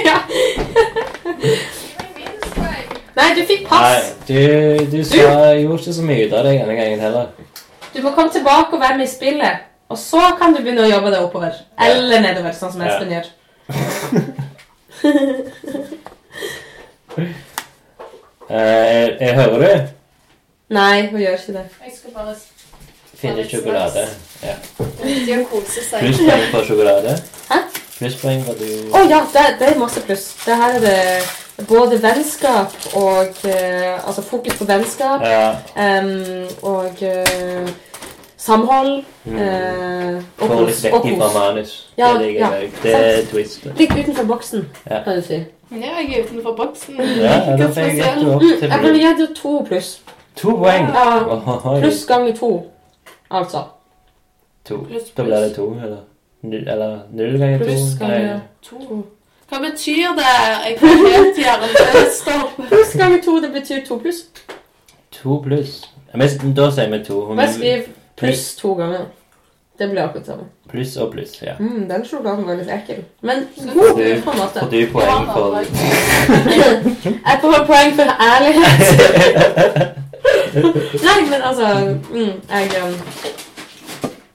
[SPEAKER 7] ja. Nei, du fikk pass.
[SPEAKER 3] Nei, du, du sa, gjorde ikke så mye ut av deg denne gangen heller.
[SPEAKER 7] Du må komme tilbake og være med i spillet. Og så kan du begynne å jobbe deg oppover. Eller nedover, sånn som
[SPEAKER 3] Ja.
[SPEAKER 7] Espen gjør.
[SPEAKER 3] Eh, jeg, jeg hører du.
[SPEAKER 7] Nei, hun gjør ikke det.
[SPEAKER 2] Jeg skal bare
[SPEAKER 3] Finner sjokolade.
[SPEAKER 2] De har koset seg.
[SPEAKER 3] Plusspoeng for sjokolade.
[SPEAKER 7] Hæ?
[SPEAKER 3] Plusspoeng for du
[SPEAKER 7] Å ja, det, det er masse pluss. Det her er det både vennskap og eh, Altså fokus på vennskap
[SPEAKER 3] Ja.
[SPEAKER 7] em, og eh, samhold.
[SPEAKER 3] Mm.
[SPEAKER 7] eh, og
[SPEAKER 3] Får litt
[SPEAKER 7] kos. Og
[SPEAKER 3] vekk fra
[SPEAKER 7] kos.
[SPEAKER 3] manus. Det
[SPEAKER 7] Ja,
[SPEAKER 3] ligger
[SPEAKER 7] ja,
[SPEAKER 3] jeg. Det er twistet.
[SPEAKER 7] Litt utenfor boksen,
[SPEAKER 3] Ja.
[SPEAKER 7] kan du si.
[SPEAKER 2] Men jeg er utenfor boksen.
[SPEAKER 3] Ja, ja, da får jeg gitt du opp
[SPEAKER 7] Mm,
[SPEAKER 3] til
[SPEAKER 7] jeg ville
[SPEAKER 3] bli
[SPEAKER 7] gitt deg to pluss.
[SPEAKER 3] to poeng.
[SPEAKER 7] Ja,
[SPEAKER 3] Ohoi.
[SPEAKER 7] Pluss ganger to, altså.
[SPEAKER 3] To.
[SPEAKER 2] Pluss,
[SPEAKER 3] Da blir det to, eller? Null, eller null ganger to?
[SPEAKER 7] Pluss
[SPEAKER 3] Nei.
[SPEAKER 7] ganger to.
[SPEAKER 2] Hva betyr det? Jeg kan helt hjernestopp.
[SPEAKER 7] Pluss ganger to, det betyr to pluss.
[SPEAKER 3] To pluss. Ja, Men da sier vi to.
[SPEAKER 7] Bare skriv pluss to ganger. Det blir akkurat det samme.
[SPEAKER 3] Pluss og pluss, ja.
[SPEAKER 7] Mm, den sjokoladen var litt ekkel. Men god på
[SPEAKER 3] Du-
[SPEAKER 7] en måte.
[SPEAKER 3] Får du poeng for
[SPEAKER 7] Jeg får poeng for ærlighet. Nei, men altså mm, Jeg um,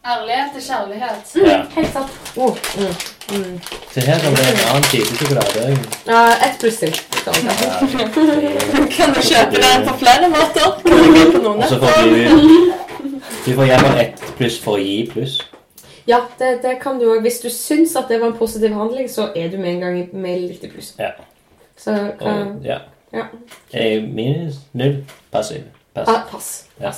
[SPEAKER 2] Ærlighet er kjærlighet.
[SPEAKER 7] mm,
[SPEAKER 3] Ja.
[SPEAKER 7] Helt sant. Oh, mm, mm.
[SPEAKER 3] Se her kommer det en annen type sjokolade.
[SPEAKER 7] Ja, Ett pluss til. skal vi ta.
[SPEAKER 2] Kan du kjøpe den på flere måter? Kan du gå på noen
[SPEAKER 3] Og så får du Du får gjerne ett pluss for å gi pluss.
[SPEAKER 7] Ja, det, det kan du òg. Hvis du syns at det var en positiv handling, så er du med en gang i- med litt i pluss.
[SPEAKER 3] Ja.
[SPEAKER 7] Så hva
[SPEAKER 3] Og ja.
[SPEAKER 7] Ja.
[SPEAKER 3] Eh, Minus null. Passiv. Passiv.
[SPEAKER 7] ah, Pass.
[SPEAKER 3] Ja.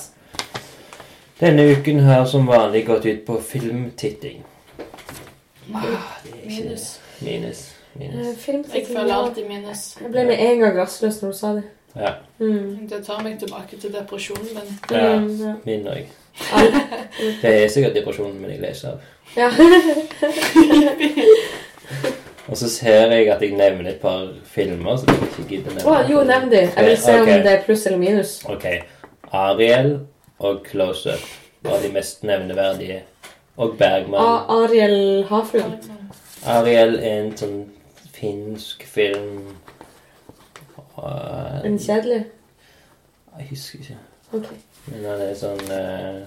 [SPEAKER 3] Denne uken har som vanlig gått ut på filmtitting. Ah, det er ikke-
[SPEAKER 2] Minus.
[SPEAKER 3] Minus.
[SPEAKER 7] Eh,
[SPEAKER 3] Minus.
[SPEAKER 2] Jeg
[SPEAKER 7] filmtitling,
[SPEAKER 2] føler
[SPEAKER 7] ja.
[SPEAKER 2] alltid minus.
[SPEAKER 7] Jeg ble med en gang rastløs når hun sa det.
[SPEAKER 3] Ja.
[SPEAKER 7] Mm.
[SPEAKER 2] Det tar meg tilbake til depresjonen min.
[SPEAKER 3] Ja.
[SPEAKER 7] Mm, ja.
[SPEAKER 3] Min òg.
[SPEAKER 7] Al-
[SPEAKER 3] Det er sikkert depresjonen min jeg leser av.
[SPEAKER 7] ja.
[SPEAKER 3] Og så ser jeg at jeg nevner et par filmer som jeg ikke gidder nevne.
[SPEAKER 7] Å, jo, nevn de. Jeg vil se om
[SPEAKER 3] Ok.
[SPEAKER 7] det er pluss eller minus.
[SPEAKER 3] Ok. Ariel og Close Up var de mest nevneverdige. Og Bergman.
[SPEAKER 7] A Ariel Hafrun.
[SPEAKER 3] Ariel er en sånn finsk film
[SPEAKER 7] En
[SPEAKER 3] uh,
[SPEAKER 7] kjedelig?
[SPEAKER 3] Jeg husker ikke.
[SPEAKER 7] Ok.
[SPEAKER 3] Men han er sånn eh,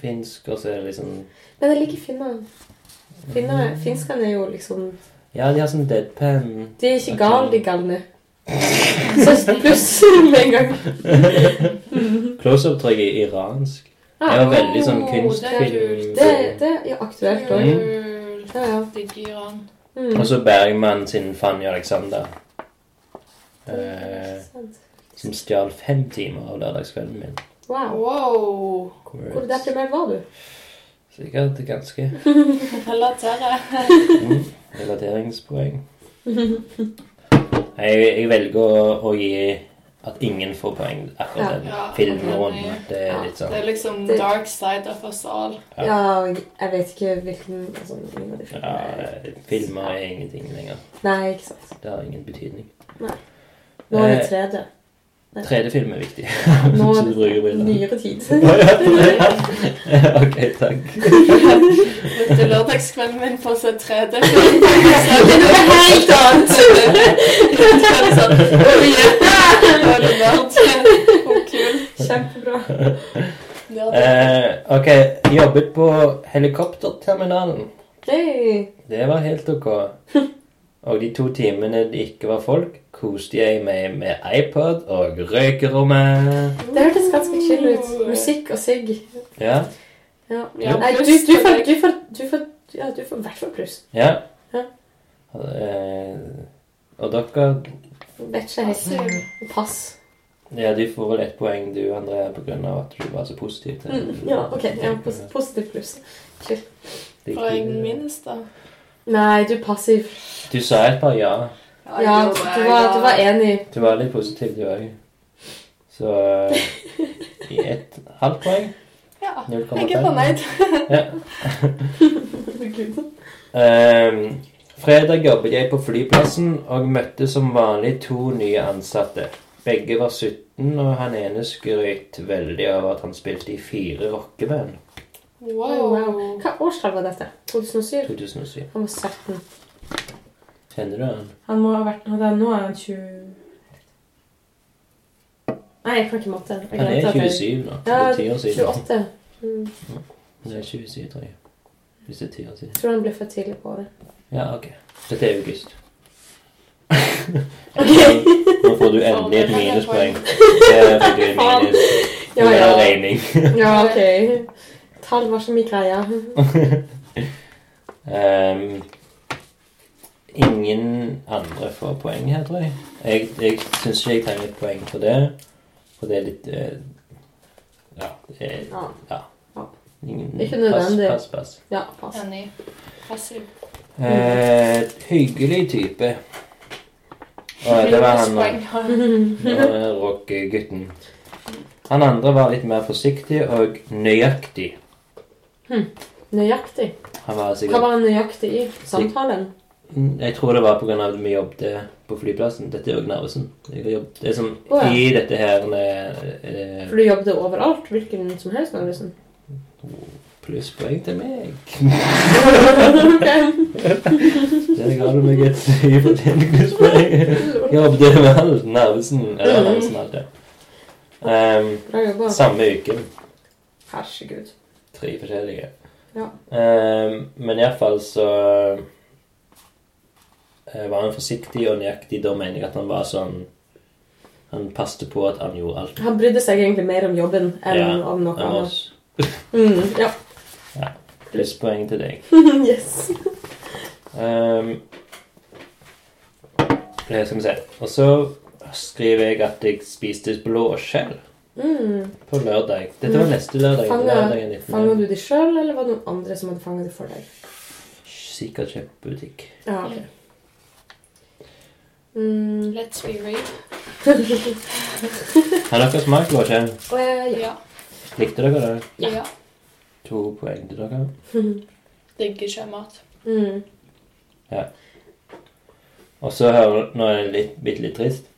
[SPEAKER 3] finsk, og så er det litt sånn
[SPEAKER 7] Men jeg liker finnene.
[SPEAKER 3] Mm.
[SPEAKER 7] Finner- Finskene er jo liksom
[SPEAKER 3] Ja, de har sånn deadpan.
[SPEAKER 7] De er ikke gale, de galne. Så pluss med en gang.
[SPEAKER 3] Close Up tror jeg er iransk.
[SPEAKER 7] Ja.
[SPEAKER 3] Det var veldig sånn
[SPEAKER 2] Oh,
[SPEAKER 3] kunstfilm.
[SPEAKER 7] Ah. Det, det er aktuelt òg.
[SPEAKER 2] Kult.
[SPEAKER 7] Ja, ja.
[SPEAKER 2] Digger han.
[SPEAKER 7] Mm.
[SPEAKER 3] Og så Bergman sin Fanny Alexander. Eh, som stjal fem timer av lørdagskvelden min.
[SPEAKER 7] Wow.
[SPEAKER 2] Wow.
[SPEAKER 7] Hvor deprimert var du?
[SPEAKER 3] Sikkert ganske
[SPEAKER 2] Relaterer.
[SPEAKER 3] mm, relateringspoeng. Jeg, jeg velger å, å gi at ingen får poeng
[SPEAKER 7] Ja.
[SPEAKER 3] akkurat den
[SPEAKER 2] Ja,
[SPEAKER 3] filmrunden.
[SPEAKER 2] enig.
[SPEAKER 3] Det
[SPEAKER 7] Ja.
[SPEAKER 3] er litt sånn
[SPEAKER 2] Det er liksom
[SPEAKER 7] Det-
[SPEAKER 2] dark side of us all.
[SPEAKER 3] Ja.
[SPEAKER 7] Ja, jeg vet ikke hvilken altså, ingen av de filmene
[SPEAKER 3] ja,
[SPEAKER 7] er-
[SPEAKER 3] Filmer er ingenting lenger.
[SPEAKER 7] Nei, ikke sant.
[SPEAKER 3] Det har ingen betydning.
[SPEAKER 7] Nå er det
[SPEAKER 3] Eh,
[SPEAKER 7] tredje.
[SPEAKER 3] 3D-film er viktig.
[SPEAKER 7] Nå
[SPEAKER 3] Hvis
[SPEAKER 7] er
[SPEAKER 3] du bruker
[SPEAKER 7] det
[SPEAKER 3] briller.
[SPEAKER 7] nyere tid.
[SPEAKER 3] ok, takk.
[SPEAKER 2] Brukte lørdagskvelden min på å se 3D.
[SPEAKER 7] Det er noe helt annet!
[SPEAKER 2] sånn
[SPEAKER 7] Kjempebra.
[SPEAKER 3] Eh, ok, jobbet på helikopterterminalen.
[SPEAKER 7] Hey.
[SPEAKER 3] Det var helt ok. Og de to timene det ikke var folk, koste jeg meg med iPod og røykerommet.
[SPEAKER 7] Det hørtes ganske chill ut. Musikk og sigg.
[SPEAKER 3] Ja,
[SPEAKER 7] Ja.
[SPEAKER 2] Ja,
[SPEAKER 7] Nei, du,
[SPEAKER 2] pluss
[SPEAKER 7] du
[SPEAKER 2] for
[SPEAKER 7] får
[SPEAKER 2] deg.
[SPEAKER 7] du får, du får, ja, du får i hvert fall pluss.
[SPEAKER 3] ja.
[SPEAKER 7] Ja.
[SPEAKER 3] Eh, og dere
[SPEAKER 7] Vet ikke helt. Pass.
[SPEAKER 3] Ja, du får vel ett poeng du, Andrea, på grunn av at eh, du var så positiv til
[SPEAKER 7] Mm, ja, ok. Ja, pos positiv pluss.
[SPEAKER 3] Det gikk-
[SPEAKER 2] Poeng minus, da.
[SPEAKER 7] Nei, du er passiv.
[SPEAKER 3] Du sa et par ja.
[SPEAKER 7] Ja, du var, du var enig.
[SPEAKER 3] Du var litt positiv, du òg. Så eh, i et halvt poeng
[SPEAKER 2] Ja. Jeg er
[SPEAKER 3] 0,5.
[SPEAKER 2] fornøyd.
[SPEAKER 3] Ja. Ehm, fredag jobbet jeg på flyplassen og møtte som vanlig to nye ansatte. Begge var 17, og han ene skrøt veldig av at han spilte i fire rockeband.
[SPEAKER 7] Wow. Hva årstall var dette? 2007?
[SPEAKER 3] 2007.
[SPEAKER 7] Han var 17.
[SPEAKER 3] Kjenner du han?
[SPEAKER 7] Han må ha vært nå, da, nå er han 20... Nei, jeg kan ikke matte. Jeg
[SPEAKER 3] Han
[SPEAKER 7] glemte
[SPEAKER 3] er
[SPEAKER 7] at jeg-
[SPEAKER 3] 27 nå. Det
[SPEAKER 7] Ja,
[SPEAKER 3] er ti år siden.
[SPEAKER 7] 28. Mm.
[SPEAKER 3] Det er 27, tror jeg. Hvis det er ti år siden.
[SPEAKER 7] Jeg tror han ble for tidlig på det.
[SPEAKER 3] Ja, ok. Dette er august.
[SPEAKER 7] Ok.
[SPEAKER 3] Nå får du endelig et minuspoeng. Det fikk du i minus.
[SPEAKER 7] Ja,
[SPEAKER 3] Det er
[SPEAKER 7] ja.
[SPEAKER 3] regning.
[SPEAKER 7] ja, ok. Tall var så mye greier.
[SPEAKER 3] Ehm, ingen andre får poeng her, tror jeg. Jeg, jeg syns ikke jeg trenger et poeng for det. For det er litt eh, Ja. Det er,
[SPEAKER 7] Ja.
[SPEAKER 3] ja.
[SPEAKER 7] Ja.
[SPEAKER 3] Ingen,
[SPEAKER 7] Ikke nødvendig.
[SPEAKER 3] Pass, pass, pass.
[SPEAKER 7] Ja, pass.
[SPEAKER 2] Enig. Passiv.
[SPEAKER 3] Eh, hyggelig type. Og det var han. eh, Nå rocker gutten. Han andre var litt mer forsiktig og nøyaktig.
[SPEAKER 7] Nøyaktig.
[SPEAKER 3] Han var
[SPEAKER 7] Hva
[SPEAKER 3] sikkert
[SPEAKER 7] var han nøyaktig i? Samtalen?
[SPEAKER 3] Jeg tror det var pga. at vi jobbet på flyplassen. Dette er jo Narvesen. Jeg har jobbet- Det er som
[SPEAKER 7] Å, ja.
[SPEAKER 3] i dette her eh,
[SPEAKER 7] For du jobbet overalt, hvilken som helst, Magnussen.
[SPEAKER 3] Plusspoeng til meg.
[SPEAKER 7] Ok.
[SPEAKER 3] Der ga du meg et ufortjent plusspoeng. Jobbet med alt Narvesen. Eller Narvesen alt det. Ehm,
[SPEAKER 7] Bra jobba.
[SPEAKER 3] samme uke.
[SPEAKER 7] Herregud.
[SPEAKER 3] Tre forskjellige.
[SPEAKER 7] Ja.
[SPEAKER 3] Ehm, men iallfall så eh, var han forsiktig og nøyaktig. Da mener jeg at han var sånn Han passte på at han gjorde alt.
[SPEAKER 7] Han brydde seg egentlig mer om jobben enn
[SPEAKER 3] Ja,
[SPEAKER 7] om noe
[SPEAKER 3] Han var
[SPEAKER 7] annet. Mm, ja.
[SPEAKER 3] Plusspoeng til deg.
[SPEAKER 7] yes.
[SPEAKER 3] Ehm, eh, skal vi se. Og så skriver jeg at jeg spiste blåskjell
[SPEAKER 7] Mm.
[SPEAKER 3] på lørdag. Dette var neste lørdag.
[SPEAKER 7] Fanger-
[SPEAKER 3] lørdagen 19.
[SPEAKER 7] Fanga du de sjøl, eller var det noen andre som hadde fanga de for deg?
[SPEAKER 3] Sikkert kjøpt på butikk.
[SPEAKER 7] Ja. Mm.
[SPEAKER 2] Let's be real.
[SPEAKER 3] Har dere smakt blåskjell?
[SPEAKER 7] Eh, ja.
[SPEAKER 2] Ja.
[SPEAKER 3] Likte dere det?
[SPEAKER 7] Ja.
[SPEAKER 2] ja.
[SPEAKER 3] To poeng til dere.
[SPEAKER 2] Digger ikke mat.
[SPEAKER 7] Mm.
[SPEAKER 3] Og så hører Nå er det litt, bitte litt trist.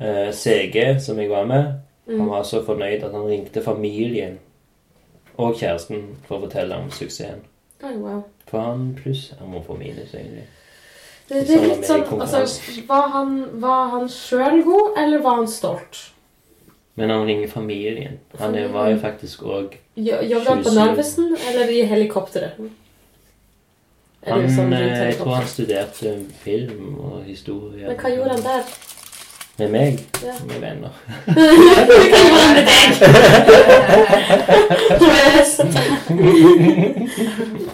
[SPEAKER 3] Eh, CG, som jeg var med, han
[SPEAKER 7] Mm.
[SPEAKER 3] var så fornøyd at han ringte familien og kjæresten for å fortelle om suksessen.
[SPEAKER 7] Oi, wow.
[SPEAKER 3] For han pluss Han må få minus, egentlig.
[SPEAKER 7] Det, det er
[SPEAKER 3] Sånn
[SPEAKER 7] litt sånn
[SPEAKER 3] Amerika-
[SPEAKER 7] altså, Var han, var han sjøl god, eller var han stolt?
[SPEAKER 3] Men han ringer familien. Han er- var jo faktisk òg
[SPEAKER 7] Jo- Jobbet han på
[SPEAKER 3] 27.
[SPEAKER 7] Narvesen, eller i helikopteret? Er
[SPEAKER 3] Han
[SPEAKER 7] det jo sånn rundt
[SPEAKER 3] eh, Jeg tror han
[SPEAKER 7] helikopteret?
[SPEAKER 3] studerte film og historie.
[SPEAKER 7] Men hva gjorde han der?
[SPEAKER 3] Med meg?
[SPEAKER 7] Ja.
[SPEAKER 3] Med venner.
[SPEAKER 7] Hva gjorde han med deg?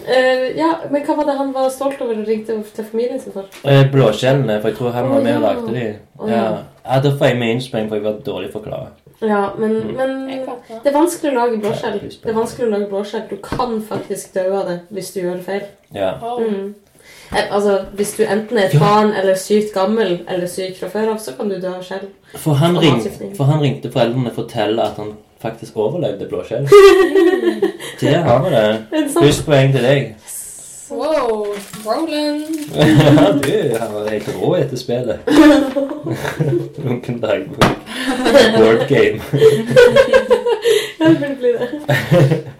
[SPEAKER 7] Eh, ja, men hva var det han var stolt over og ringte til familien sin for?
[SPEAKER 3] Eh, Blåskjellene, for jeg tror han var
[SPEAKER 7] Å,
[SPEAKER 3] med og
[SPEAKER 7] ja.
[SPEAKER 3] lagde de.
[SPEAKER 7] Å,
[SPEAKER 3] Ja.
[SPEAKER 7] ja.
[SPEAKER 3] ja, Da får jeg minuspoeng, for jeg var dårlig forklart.
[SPEAKER 7] Ja, men, men
[SPEAKER 2] Jeg fatter.
[SPEAKER 7] det er vanskelig å lage blåskjell. Det er vanskelig å lage blåskjell. Du kan faktisk dø av det hvis du gjør feil.
[SPEAKER 3] Ja.
[SPEAKER 2] Oh.
[SPEAKER 7] Mm. Eh, Altså, Hvis du enten er et
[SPEAKER 3] Ja.
[SPEAKER 7] barn eller sykt gammel eller syk fra før av, så kan du dø av skjell.
[SPEAKER 3] For han,
[SPEAKER 7] Og
[SPEAKER 3] ring,
[SPEAKER 7] matforgiftning.
[SPEAKER 3] for han ringte foreldrene og fortalte at han faktisk overlevde blåskjell. Der har vi det.
[SPEAKER 7] Er det sant?
[SPEAKER 3] Plusspoeng til deg.
[SPEAKER 2] Wow, Roland.
[SPEAKER 3] Ja, du han var helt rå etter spillet. Lunken dagbok. Board game.
[SPEAKER 7] Ja, det burde bli det.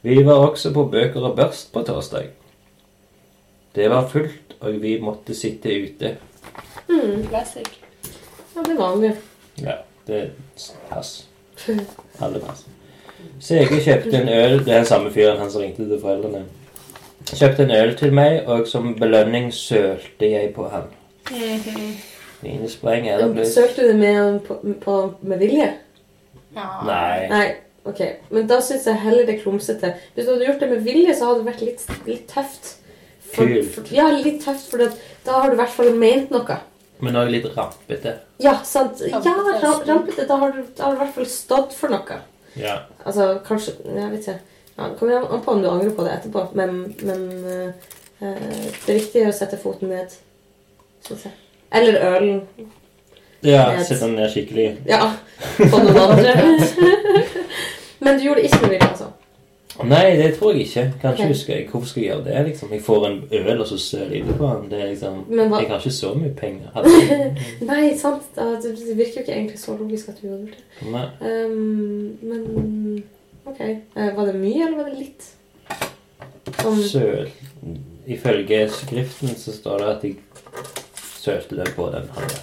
[SPEAKER 3] Vi var også på Bøker og børst på torsdag. Det var fullt, og vi måtte sitte ute.
[SPEAKER 7] Mm.
[SPEAKER 2] Classic.
[SPEAKER 7] Ja, det er vanlig.
[SPEAKER 3] Ja, det er pass. Alle pass. CG kjøpte en øl Det er den samme fyren han som ringte til foreldrene. Kjøpte en øl til meg, og som belønning sølte jeg på han. Minuspoeng er det pluss.
[SPEAKER 7] Søkte du det med, han på, på, med vilje?
[SPEAKER 3] Nei.
[SPEAKER 7] Nei. Ok, Men da syns jeg heller det er klumsete. Hvis du hadde gjort det med vilje, så hadde det vært litt, litt tøft. For,
[SPEAKER 3] Kult.
[SPEAKER 7] for, ja, litt tøft, for det, da har du i hvert fall ment noe.
[SPEAKER 3] Men òg litt rampete.
[SPEAKER 7] Ja, sant. Ja,
[SPEAKER 2] Rampete.
[SPEAKER 7] ra- rampete. Da har du da har du i hvert fall stått for noe.
[SPEAKER 3] Ja.
[SPEAKER 7] Altså, kanskje Jeg vet ikke. Ja, det kommer an på om du angrer på det etterpå, men, men eh, Eh, Det er viktig å sette foten ned. Synes jeg. Eller ølen.
[SPEAKER 3] Ja, sitter den ned skikkelig.
[SPEAKER 7] Ja, på noen andre. Men du gjorde ikke noe vilje, altså.
[SPEAKER 3] Nei, det tror jeg ikke. Kanskje
[SPEAKER 7] Ok.
[SPEAKER 3] jeg skal jeg, Hvorfor skal jeg gjøre det? liksom? Jeg får en øl, og så søler jeg det på den. Det er liksom,
[SPEAKER 7] Men hva-
[SPEAKER 3] Jeg har ikke så mye penger. Hadde-
[SPEAKER 7] Nei, sant. da- Det virker jo ikke egentlig så logisk at du gjorde det.
[SPEAKER 3] Nei.
[SPEAKER 7] Ehm, men OK. Eh, Var det mye, eller var det litt? Sånn
[SPEAKER 3] Søl Ifølge skriften så står det at jeg sølte det på den hånda.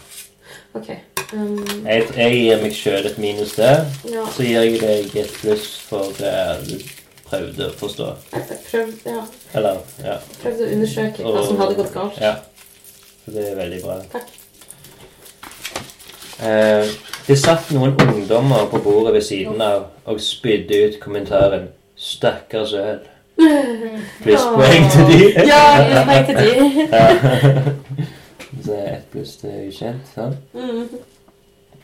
[SPEAKER 7] OK. ehm,
[SPEAKER 3] Jeg, jeg gir meg sjøl et minus der.
[SPEAKER 7] ja.
[SPEAKER 3] Så gir jeg deg et pluss for det du prøvde å forstå.
[SPEAKER 7] Jeg prøvde, ja,
[SPEAKER 3] Eller ja.
[SPEAKER 7] prøvde å undersøke hva som hadde gått galt.
[SPEAKER 3] Ja. Så det er veldig bra.
[SPEAKER 7] Takk.
[SPEAKER 3] Eh, det satt noen ungdommer på bordet ved siden av og spydde ut kommentaren 'Stakkars øl'. Plusspoeng til de.
[SPEAKER 7] Ja, jeg tenkte de.
[SPEAKER 3] Eh, Så det er ett pluss til ukjent. sant?
[SPEAKER 7] Mm.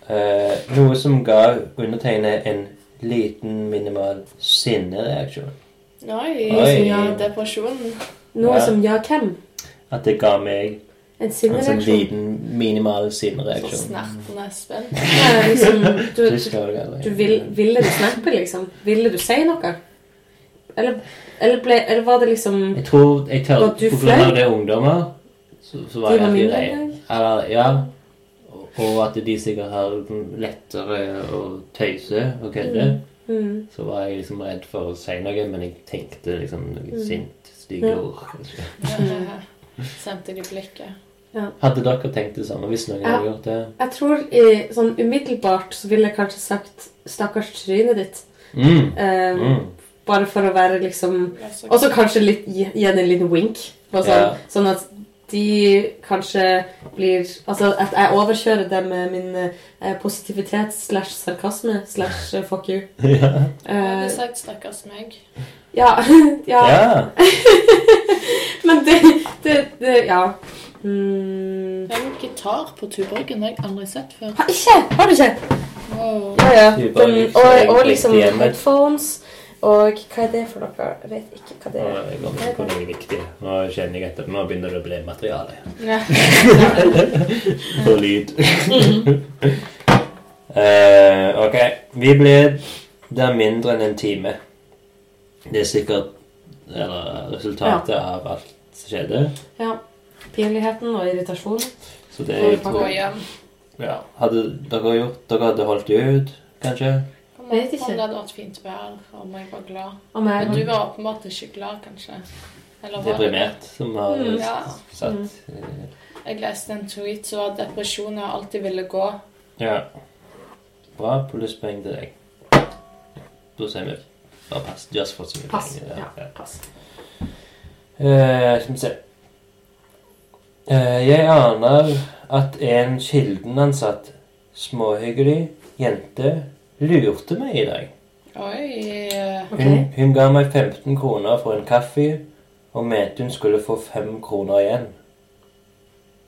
[SPEAKER 3] Eh, noe som ga undertegnede en liten, minimal sinnereaksjon.
[SPEAKER 2] Oi.
[SPEAKER 3] Oi.
[SPEAKER 2] Depresjon.
[SPEAKER 7] Noe
[SPEAKER 3] Ja.
[SPEAKER 7] som ja, hvem?
[SPEAKER 3] At det ga meg
[SPEAKER 7] En
[SPEAKER 3] en sånn
[SPEAKER 7] sinnereaksjon?
[SPEAKER 3] liten, minimal
[SPEAKER 2] Så
[SPEAKER 3] sinnereaksjon.
[SPEAKER 2] snertende spenn.
[SPEAKER 7] Ja, liksom, du,
[SPEAKER 3] Det
[SPEAKER 7] du,
[SPEAKER 3] skal jeg aldri.
[SPEAKER 7] du vil, ville du snappe, liksom? Ville du si noe? Eller, eller, ble, eller var det liksom
[SPEAKER 3] Jeg tror jeg tør,
[SPEAKER 7] Var du
[SPEAKER 3] På grunn
[SPEAKER 7] flau?
[SPEAKER 3] av det er ungdommer, så, så var
[SPEAKER 7] De
[SPEAKER 3] jeg
[SPEAKER 7] var
[SPEAKER 3] alltid
[SPEAKER 7] mindre
[SPEAKER 3] lei.
[SPEAKER 7] enn deg?
[SPEAKER 3] Eller, ja. Og- Og at de sikkert har lettere å tøyse og kødde.
[SPEAKER 7] mm,
[SPEAKER 3] Så var jeg liksom redd for å si noe, men jeg tenkte liksom noe
[SPEAKER 7] Mm.
[SPEAKER 3] sint, stygge
[SPEAKER 7] Ja.
[SPEAKER 3] ord.
[SPEAKER 2] Sendte de blikket.
[SPEAKER 3] Hadde dere tenkt det samme hvis noen
[SPEAKER 7] Ja.
[SPEAKER 3] hadde gjort det?
[SPEAKER 7] Jeg tror i, sånn umiddelbart så ville jeg kanskje sagt 'stakkars trynet ditt'.
[SPEAKER 3] Mm.
[SPEAKER 7] eh,
[SPEAKER 3] Mm.
[SPEAKER 7] Bare for å være liksom Og så kanskje litt, gi gi henne en liten wink. Og sånn,
[SPEAKER 3] Ja.
[SPEAKER 7] sånn at de kanskje blir Altså at jeg overkjører det med min eh, positivitet slash sarkasme slash eh, fuck you.
[SPEAKER 3] ja.
[SPEAKER 2] Jeg hadde
[SPEAKER 7] Eh,
[SPEAKER 2] sagt 'stakkars meg'.
[SPEAKER 7] ja, ja.
[SPEAKER 3] ja.
[SPEAKER 7] Men det, det, det Ja. Mm.
[SPEAKER 2] Det er en gitar på tuborgen. Det har jeg aldri sett før.
[SPEAKER 7] Har ikke! Har du ikke?
[SPEAKER 2] Wow.
[SPEAKER 7] Ja, ja.
[SPEAKER 3] Du bare
[SPEAKER 7] Den,
[SPEAKER 3] lyser
[SPEAKER 7] og,
[SPEAKER 3] deg
[SPEAKER 7] og
[SPEAKER 3] litt
[SPEAKER 7] liksom
[SPEAKER 3] hjemme.
[SPEAKER 7] headphones. Og hva er det for noe? Jeg vet ikke hva det
[SPEAKER 3] Nå
[SPEAKER 7] er.
[SPEAKER 3] er jeg kommet på noe viktig. Nå kjenner jeg etter. Nå begynner det å bli materiale.
[SPEAKER 2] Ja.
[SPEAKER 3] Og lyd. Eh, ok. Vi blir der mindre enn en time. Det er sikkert eller, resultatet av alt som skjedde.
[SPEAKER 7] Pinligheten og irritasjonen.
[SPEAKER 3] Så det
[SPEAKER 7] Får vi
[SPEAKER 3] er
[SPEAKER 7] pakke
[SPEAKER 3] jo
[SPEAKER 7] opp?
[SPEAKER 2] hjem.
[SPEAKER 3] ja. Hadde dere gjort Dere hadde holdt ut, kanskje?
[SPEAKER 2] Om
[SPEAKER 7] Vet ikke.
[SPEAKER 2] det hadde vært fint vær, om jeg var glad.
[SPEAKER 7] Om
[SPEAKER 2] Men du
[SPEAKER 7] jeg,
[SPEAKER 2] var åpenbart ikke glad, kanskje. Eller var du det?
[SPEAKER 3] Deprimert, som har
[SPEAKER 7] Mm.
[SPEAKER 2] Ja.
[SPEAKER 3] satt eh,
[SPEAKER 2] Jeg leste en tweet som var 'depresjon er alltid ville gå'.
[SPEAKER 3] Ja. Bra plusspoeng til deg. Da sier vi bare pass. Du har fått så mye
[SPEAKER 7] pass.
[SPEAKER 3] penger,
[SPEAKER 7] Ja, pass.
[SPEAKER 3] Eh, skal vi se eh, Jeg aner at en Kilden-ansatt småhyggelig jente lurte meg i dag.
[SPEAKER 2] Oi.
[SPEAKER 7] Ok.
[SPEAKER 3] Hun, hun ga meg 15 kroner for en kaffe og mente hun skulle få 5 kroner igjen.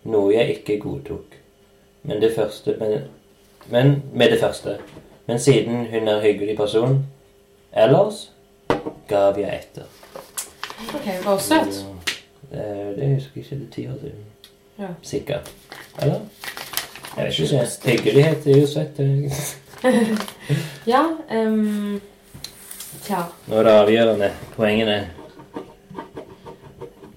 [SPEAKER 3] Noe jeg ikke godtok. Men det første men, men med det første. Men siden hun er hyggelig person ellers, gav jeg etter.
[SPEAKER 7] Ok, var hun søt?
[SPEAKER 3] Eh, Det husker jeg ikke. Det er ti år siden.
[SPEAKER 7] Ja.
[SPEAKER 3] Sikkert. Eller? Jeg vet ikke. Hyggelighet er jo søtt. det.
[SPEAKER 7] Ja. Um, tja.
[SPEAKER 3] Nå er det avgjørende. Poengene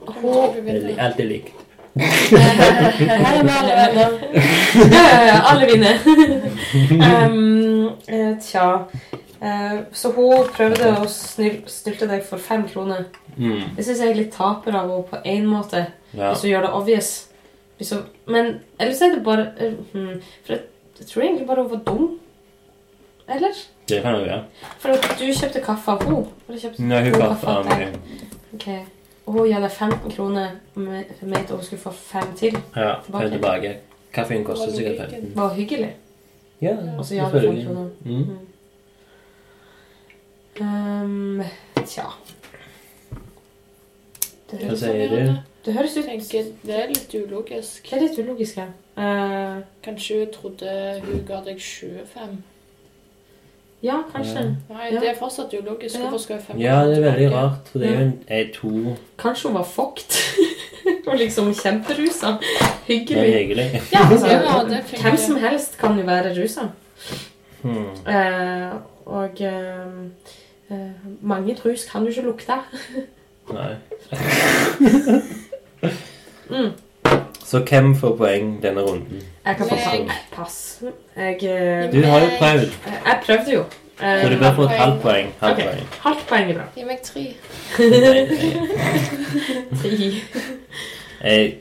[SPEAKER 2] Tror
[SPEAKER 7] Hun
[SPEAKER 2] du
[SPEAKER 3] er
[SPEAKER 2] vil
[SPEAKER 3] li-
[SPEAKER 2] det?
[SPEAKER 3] alltid likt.
[SPEAKER 7] Her med alle venner. Eh, alle vinner. Em, eh, tja. Eh, så hun prøvde å snyl- snylte deg for fem kroner.
[SPEAKER 3] Mm.
[SPEAKER 7] Det syns jeg er litt taper av henne på én måte,
[SPEAKER 3] Ja.
[SPEAKER 7] hvis hun gjør det obvious. Hvis hun, men ellers er det bare eh, hmm, For jeg, jeg tror egentlig bare hun var dum. Eller?
[SPEAKER 3] Det kan du gjøre.
[SPEAKER 7] For at du kjøpte kaffe av henne. Eller kjøpte
[SPEAKER 3] Nei, hun
[SPEAKER 7] to
[SPEAKER 3] kalte
[SPEAKER 7] kaffe av
[SPEAKER 3] av
[SPEAKER 7] deg.
[SPEAKER 3] meg.
[SPEAKER 7] Ok. Og hun ga deg 15 kroner med, med at hun skulle få fem til.
[SPEAKER 3] Ja, fem tilbake. Kaffen koster sikkert 15.
[SPEAKER 7] Var hyggelig.
[SPEAKER 3] Ja,
[SPEAKER 7] Og så sånn. ja, det fem
[SPEAKER 3] selvfølgelig.
[SPEAKER 7] kroner. Hmm.
[SPEAKER 3] Mm.
[SPEAKER 7] Ehm, tja. Det
[SPEAKER 3] Hva
[SPEAKER 7] høres,
[SPEAKER 3] sier du?
[SPEAKER 7] det høres ut
[SPEAKER 2] Jeg tenker det er litt ulogisk.
[SPEAKER 7] Det er litt ulogisk, ja. Eh,
[SPEAKER 2] Kanskje hun trodde hun ga deg 25.
[SPEAKER 7] ja, kanskje.
[SPEAKER 2] Nei,
[SPEAKER 7] Ja.
[SPEAKER 2] det er fortsatt ulogisk. Hvorfor skal hun fem
[SPEAKER 3] Ja, det er veldig
[SPEAKER 2] tilbake?
[SPEAKER 3] rart. For det er jo en, er to
[SPEAKER 7] Kanskje hun var fucked. Og liksom kjemperusa.
[SPEAKER 3] Det er
[SPEAKER 7] Hyggelig.
[SPEAKER 3] hyggelig.
[SPEAKER 7] Ja,
[SPEAKER 2] Ja,
[SPEAKER 7] altså,
[SPEAKER 2] det funker.
[SPEAKER 7] hvem som helst kan jo være rusa.
[SPEAKER 3] Hmm.
[SPEAKER 7] Eh, og eh, eh, mange rus kan jo ikke lukte.
[SPEAKER 3] Nei.
[SPEAKER 7] Mm.
[SPEAKER 3] Så hvem får poeng denne runden?
[SPEAKER 7] Jeg kan få
[SPEAKER 2] Meg.
[SPEAKER 7] pass. pass. Jeg, eh,
[SPEAKER 3] Du har jo prøvd,
[SPEAKER 7] jeg prøvde jo.
[SPEAKER 3] så du
[SPEAKER 7] Eh,
[SPEAKER 3] bør få et halvt poeng. Halvt
[SPEAKER 7] Ok.
[SPEAKER 3] poeng. eh,
[SPEAKER 7] halvt poeng er bra.
[SPEAKER 2] Gi meg tre.
[SPEAKER 3] Nei, nei.
[SPEAKER 7] Ti.
[SPEAKER 3] Jeg, eh,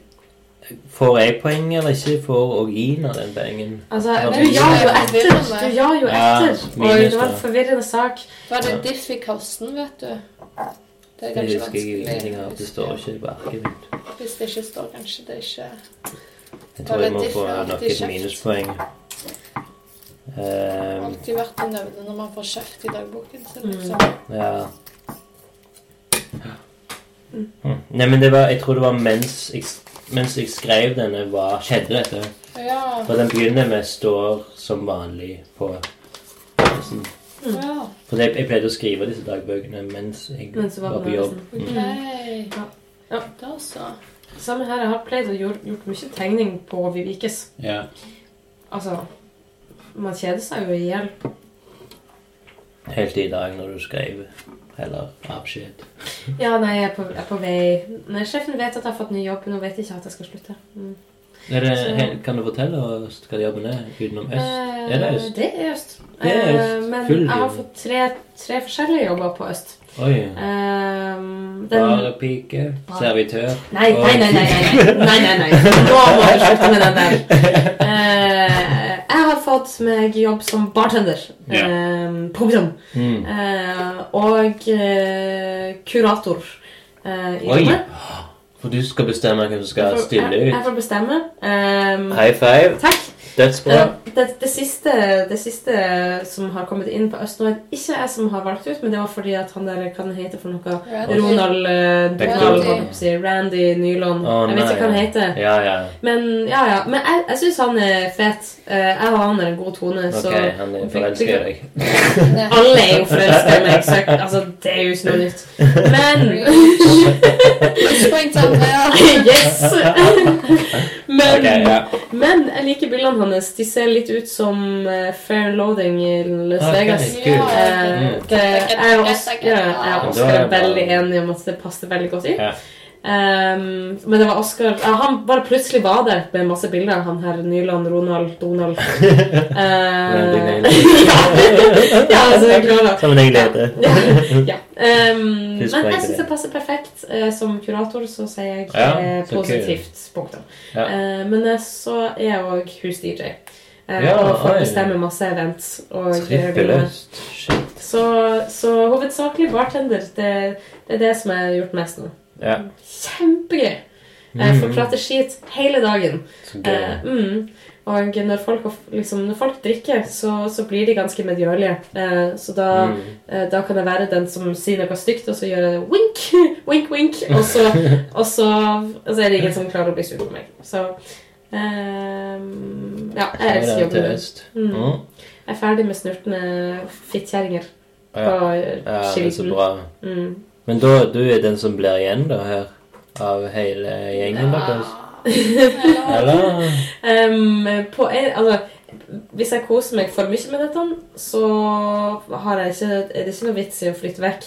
[SPEAKER 3] får jeg poeng eller ikke? Får og Ina den poengen?
[SPEAKER 7] Altså,
[SPEAKER 3] Ja,
[SPEAKER 7] du
[SPEAKER 3] men-
[SPEAKER 7] ja jo etter. Du ja jo
[SPEAKER 3] Ja,
[SPEAKER 7] etter. Og
[SPEAKER 3] minus
[SPEAKER 7] det var en
[SPEAKER 3] det.
[SPEAKER 7] forvirrende sak.
[SPEAKER 2] Var det diff i kassen, vet du? Det er
[SPEAKER 3] Det
[SPEAKER 2] kanskje
[SPEAKER 3] husker jeg ingenting
[SPEAKER 2] vanskelig.
[SPEAKER 3] av. Det står ikke på arket mitt.
[SPEAKER 2] Hvis det ikke står, kanskje det ikke
[SPEAKER 3] Jeg tror jeg må få nok et minuspoeng. Ehm,
[SPEAKER 2] alltid vært å nevne når man får kjeft i dagboken sin.
[SPEAKER 7] Mm.
[SPEAKER 2] Liksom.
[SPEAKER 3] Ja. Mm. Nei, men det var, jeg tror det var mens jeg, mens jeg skrev denne, hva skjedde dette.
[SPEAKER 2] Ja.
[SPEAKER 3] For den begynner med 'står som vanlig' på liksom.
[SPEAKER 2] ja.
[SPEAKER 3] For jeg, jeg pleide å skrive disse dagbøkene mens jeg
[SPEAKER 7] Men så
[SPEAKER 3] var,
[SPEAKER 7] var
[SPEAKER 3] på
[SPEAKER 7] det
[SPEAKER 3] jobb.
[SPEAKER 7] nesten.
[SPEAKER 3] Mm.
[SPEAKER 2] Hei.
[SPEAKER 7] Ja. Ja.
[SPEAKER 2] Da så.
[SPEAKER 7] Samme her. Jeg har pleid å gjort, gjort mye tegning på Vivikes.
[SPEAKER 3] Ja.
[SPEAKER 7] Altså, man kjeder seg jo i hjel.
[SPEAKER 3] Helt til i dag når du skrev. Eller avskjed.
[SPEAKER 7] Ja, nei, jeg er på, jeg er på vei. Nei, sjefen vet at jeg har fått ny jobb, men hun vet ikke at jeg skal slutte. Mm.
[SPEAKER 3] Er det,
[SPEAKER 7] Så-
[SPEAKER 3] he- kan du fortelle oss hva jobben er utenom øst?
[SPEAKER 7] Eh,
[SPEAKER 3] Er det øst?
[SPEAKER 7] Det er øst.
[SPEAKER 3] Det er øst.
[SPEAKER 7] Eh, Men
[SPEAKER 3] Full
[SPEAKER 7] jeg har
[SPEAKER 3] jobb.
[SPEAKER 7] fått tre, tre forskjellige jobber på øst.
[SPEAKER 3] Oi.
[SPEAKER 7] Eh, den...
[SPEAKER 3] Barepike.
[SPEAKER 7] Bare-
[SPEAKER 3] Servitør.
[SPEAKER 7] Nei, nei, nei, nei, nei, nei, nei, nei. Nå må du slutte med den der. Eh, jeg har fått meg jobb som bartender
[SPEAKER 3] Ja.
[SPEAKER 7] eh, på Brom.
[SPEAKER 3] Mm.
[SPEAKER 7] Eh, og eh, kurator eh, i
[SPEAKER 3] Oi.
[SPEAKER 7] rommet.
[SPEAKER 3] For du skal bestemme hvem som skal
[SPEAKER 7] Jeg får-
[SPEAKER 3] stille
[SPEAKER 7] jeg,
[SPEAKER 3] ut.
[SPEAKER 7] jeg får bestemme. Ehm,
[SPEAKER 3] High five.
[SPEAKER 7] takk.
[SPEAKER 3] Dødsbra.
[SPEAKER 7] Eh, det, det, siste, det siste som har kommet inn på Øst nå, er ikke jeg som har valgt ut, men det var fordi at han der kan hete for noe Ronald eh,
[SPEAKER 3] Beckton.
[SPEAKER 7] Donald, holdt jeg på å si. Randy Nylund.
[SPEAKER 3] Å,
[SPEAKER 7] jeg vet
[SPEAKER 3] nei.
[SPEAKER 7] ikke hva han heter.
[SPEAKER 3] Ja, ja.
[SPEAKER 7] Men ja, ja. Men jeg, jeg syns han er fet. Eh, jeg og han er en god tone,
[SPEAKER 3] Ok, han er
[SPEAKER 7] vi-
[SPEAKER 3] forelska i deg.
[SPEAKER 2] Nei.
[SPEAKER 7] så alle er jo forelska i meg. så jeg- Altså, det er jo ikke noe nytt. Men
[SPEAKER 2] Poeng til Andrea.
[SPEAKER 7] Yes! Men
[SPEAKER 3] Ok, ja.
[SPEAKER 7] Men jeg liker bildene hans. De ser litt ut som eh, Fair and Loading i Las
[SPEAKER 3] Ok,
[SPEAKER 7] Vegas.
[SPEAKER 3] kult.
[SPEAKER 7] Eh,
[SPEAKER 3] Mm.
[SPEAKER 7] det, jeg og Os- ja, jeg og Oscar
[SPEAKER 3] Da
[SPEAKER 7] er
[SPEAKER 3] er det bra.
[SPEAKER 7] veldig enige om at det passer veldig godt i.
[SPEAKER 3] Ja.
[SPEAKER 7] Um, men det var Oscar ja, Han bare plutselig var der med masse bilder. Han her Nyland, Ronald, Donald
[SPEAKER 3] Randy
[SPEAKER 7] uh,
[SPEAKER 3] Nylund.
[SPEAKER 7] ja, ja, altså, jeg klarer
[SPEAKER 3] Som en englete.
[SPEAKER 7] ja. Um, men
[SPEAKER 3] Tusen takk
[SPEAKER 7] jeg
[SPEAKER 3] for
[SPEAKER 7] syns
[SPEAKER 3] det.
[SPEAKER 7] det passer perfekt. Eh, som kurator så sier jeg
[SPEAKER 3] Ja,
[SPEAKER 7] eh,
[SPEAKER 3] så
[SPEAKER 7] positivt. Punktum.
[SPEAKER 3] Ja.
[SPEAKER 7] Eh, men eh, så er jeg òg hus-DJ. Eh,
[SPEAKER 3] Ja,
[SPEAKER 7] og får
[SPEAKER 3] oi.
[SPEAKER 7] bestemme masse events. Og eh,
[SPEAKER 3] Trippeløst. Shit.
[SPEAKER 7] så, så hovedsakelig bartender. Det, det er det som jeg har gjort mest nå.
[SPEAKER 3] Ja. Mm.
[SPEAKER 7] Kjempegøy! Jeg får prate skit hele dagen.
[SPEAKER 3] Så gøy.
[SPEAKER 7] Eh, mm. Og når folk, har f- liksom, når folk drikker, så, så blir de ganske medgjørlige. Eh, så da
[SPEAKER 3] Mm.
[SPEAKER 7] Eh, Da kan jeg være den som sier noe stygt, og så gjør jeg wink, wink, wink. Og så, og så, og så er det ingen som klarer å bli sur på meg. Så ehm, Ja, jeg
[SPEAKER 3] Hei, da,
[SPEAKER 7] elsker jobben
[SPEAKER 3] til
[SPEAKER 7] min.
[SPEAKER 3] øst.
[SPEAKER 7] Mm.
[SPEAKER 3] Mm.
[SPEAKER 7] Jeg er ferdig med snurtende fittkjerringer på
[SPEAKER 3] Ja, ja, det er så
[SPEAKER 7] skilten.
[SPEAKER 3] bra.
[SPEAKER 7] Mm.
[SPEAKER 3] Men da, du er den som blir igjen da her? Av hele gjengen deres? Eller?
[SPEAKER 7] Ehm, på en, altså, hvis jeg koser meg for mye med dette, så har jeg ikke, er det ikke noe vits i å flytte vekk.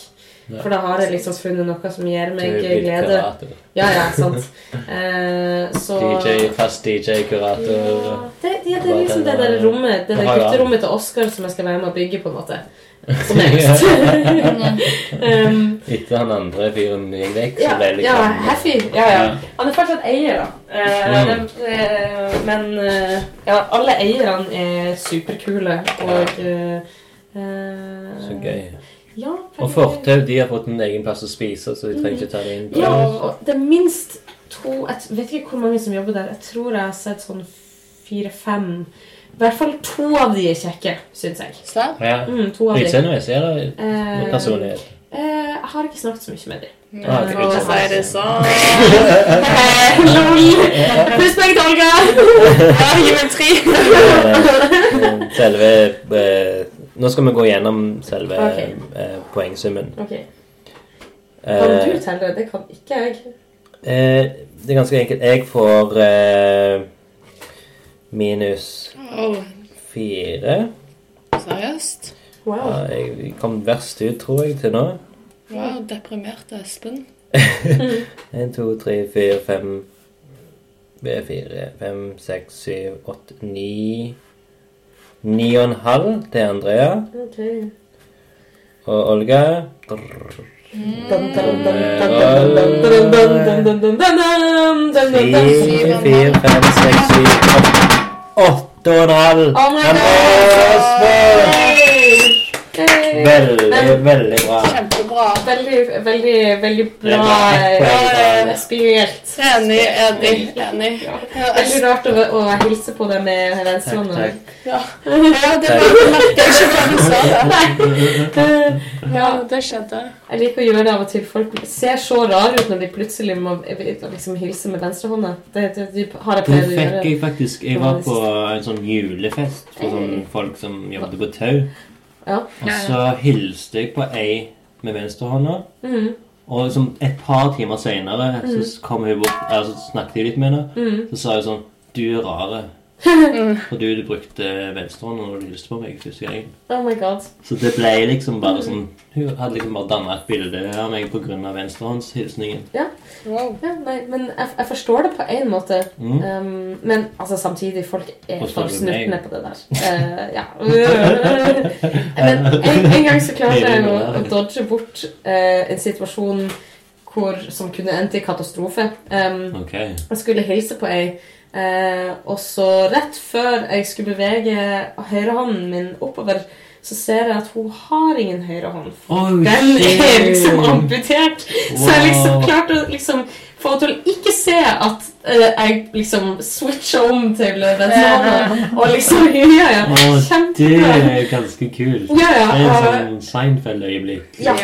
[SPEAKER 3] Nei.
[SPEAKER 7] For da har jeg liksom funnet noe som gir
[SPEAKER 3] Du
[SPEAKER 7] meg
[SPEAKER 3] blir
[SPEAKER 7] glede.
[SPEAKER 3] kurator.
[SPEAKER 7] Ja, ja, sant. Eh, så
[SPEAKER 3] DJ, fast DJ-kurator.
[SPEAKER 7] Ja, det, ja, det er liksom det der rommet, det
[SPEAKER 3] Det
[SPEAKER 7] der
[SPEAKER 3] har jeg.
[SPEAKER 7] gutterommet til Oskar som jeg skal være med og bygge, på en måte. Som er nest. um,
[SPEAKER 3] Etter han andre fyren gikk vekk,
[SPEAKER 7] ja,
[SPEAKER 3] så ble det
[SPEAKER 7] ja,
[SPEAKER 3] liksom
[SPEAKER 7] Happy. Ja, ja. Han er fortsatt eier, da.
[SPEAKER 3] Mm.
[SPEAKER 7] Eh, det- eh, men eh, ja, alle eierne er superkule og eh, eh,
[SPEAKER 3] Så gøy.
[SPEAKER 7] Ja,
[SPEAKER 3] Og
[SPEAKER 7] veldig gøy.
[SPEAKER 3] fortau, de har fått en egen plass å spise, så de trenger ikke ta det inn. på
[SPEAKER 7] Ja,
[SPEAKER 3] oss.
[SPEAKER 7] og det er minst to Jeg t- vet ikke hvor mange som jobber der. Jeg tror jeg har sett sånn fire-fem. I hvert fall to av de er kjekke, syns jeg.
[SPEAKER 8] Sær?
[SPEAKER 3] Ja.
[SPEAKER 7] Mm, to av de.
[SPEAKER 3] Utseendemessig eller
[SPEAKER 7] Eh,
[SPEAKER 3] personlighet?
[SPEAKER 7] eh, jeg har ikke snakket så mye med dem.
[SPEAKER 3] Ah, ok,
[SPEAKER 7] Nå
[SPEAKER 3] utseende.
[SPEAKER 7] sier sånn, Lol! Puss meg, Olga! Ja, gi meg tre.
[SPEAKER 3] Eh, Selve eh, Nå skal vi gå gjennom selve
[SPEAKER 7] Ok.
[SPEAKER 3] eh, poengsummen.
[SPEAKER 7] Ok,
[SPEAKER 3] Eh,
[SPEAKER 7] Kan du telle? Det kan ikke jeg.
[SPEAKER 3] eh, Det er ganske enkelt. Jeg får eh, minus
[SPEAKER 2] Åh,
[SPEAKER 3] fire.
[SPEAKER 2] seriøst?
[SPEAKER 7] Wow.
[SPEAKER 3] Ja, jeg kom verst ut, tror jeg, til nå.
[SPEAKER 2] Wow, deprimerte Espen.
[SPEAKER 3] En, to, tre, fire, fem B, fire, fem, seks, syv, åtte, ni Ni og en halv til Andrea
[SPEAKER 7] Ok.
[SPEAKER 3] og Olga. Drr,
[SPEAKER 7] Dun, dun, dun, dun, dun, dun, dun, dun, dun, dun, dun, dun, dun, dun, dun.
[SPEAKER 3] Fire, fire, fem, seks, syv, åtte Åtte og en halv!
[SPEAKER 7] Oh my
[SPEAKER 3] Han
[SPEAKER 7] God!
[SPEAKER 3] er Espen!
[SPEAKER 7] Yay!
[SPEAKER 3] Veldig, veldig bra.
[SPEAKER 2] Kjempebra.
[SPEAKER 7] Veldig, veldig, veldig
[SPEAKER 3] Det er
[SPEAKER 7] bra
[SPEAKER 3] bra.
[SPEAKER 7] eh, spirit.
[SPEAKER 2] Enig, enig, enig. Ja,
[SPEAKER 7] Veldig rart å, å hilse på deg med
[SPEAKER 3] Takk,
[SPEAKER 7] venstre
[SPEAKER 3] takk.
[SPEAKER 2] Sånn, ja det var det merket jeg ikke før du sa det. Ja,
[SPEAKER 7] Eh, Ja,
[SPEAKER 2] det skjedde.
[SPEAKER 7] jeg liker å gjøre det av og til. Folk ser så rare ut når de plutselig må liksom, hilse med venstrehånda. Det, det, det har jeg
[SPEAKER 3] Det
[SPEAKER 7] pleid å
[SPEAKER 3] fikk
[SPEAKER 7] gjøre.
[SPEAKER 3] jeg faktisk Jeg var på en sånn julefest
[SPEAKER 2] Eh.
[SPEAKER 3] for sånn folk som jobbet på tau.
[SPEAKER 7] Ja.
[SPEAKER 3] Og så hilste jeg på ei med venstrehånda.
[SPEAKER 7] Mhm.
[SPEAKER 3] Og liksom et par timer seinere
[SPEAKER 7] Mm.
[SPEAKER 3] så kom hun bort altså, så snakket jeg litt med henne.
[SPEAKER 7] Mhm.
[SPEAKER 3] Så sa hun sånn Du er rare.
[SPEAKER 7] Mm.
[SPEAKER 3] For du, du brukte venstrehånda når du hilste på meg første gang.
[SPEAKER 7] Oh my god.
[SPEAKER 3] Så det ble liksom
[SPEAKER 7] Mm.
[SPEAKER 3] bare sånn Hun hadde liksom bare danna et bilde av meg pga. venstrehåndshilsningen.
[SPEAKER 2] Wow.
[SPEAKER 7] Ja, nei, men jeg, jeg forstår det på en måte.
[SPEAKER 3] Mm.
[SPEAKER 7] Um, men altså, samtidig, folk er
[SPEAKER 3] Forstår
[SPEAKER 7] for
[SPEAKER 3] du
[SPEAKER 7] snurtne
[SPEAKER 3] meg?
[SPEAKER 7] på det der. Eh, ja. men en, en gang så klarte jeg å, å dodge bort eh, en situasjon hvor, som kunne endt i katastrofe. Um,
[SPEAKER 3] Ok.
[SPEAKER 7] jeg skulle hilse på ei, eh, og så rett før jeg skulle bevege høyrehånden min oppover, så ser jeg at hun har ingen høyrehånd.
[SPEAKER 3] Oh,
[SPEAKER 7] Den er
[SPEAKER 3] shit.
[SPEAKER 7] liksom amputert. Så jeg liksom
[SPEAKER 3] Wow.
[SPEAKER 7] klarte å liksom få henne til å ikke se at eh, jeg liksom switcha om til venstrehånda. Og liksom Ja, ja.
[SPEAKER 3] Å, Det
[SPEAKER 7] Kjempebra.
[SPEAKER 3] er ganske kult.
[SPEAKER 7] Ja, ja.
[SPEAKER 3] Det er en
[SPEAKER 7] og-
[SPEAKER 3] sånn Seinfeld-øyeblikk.
[SPEAKER 7] Ja.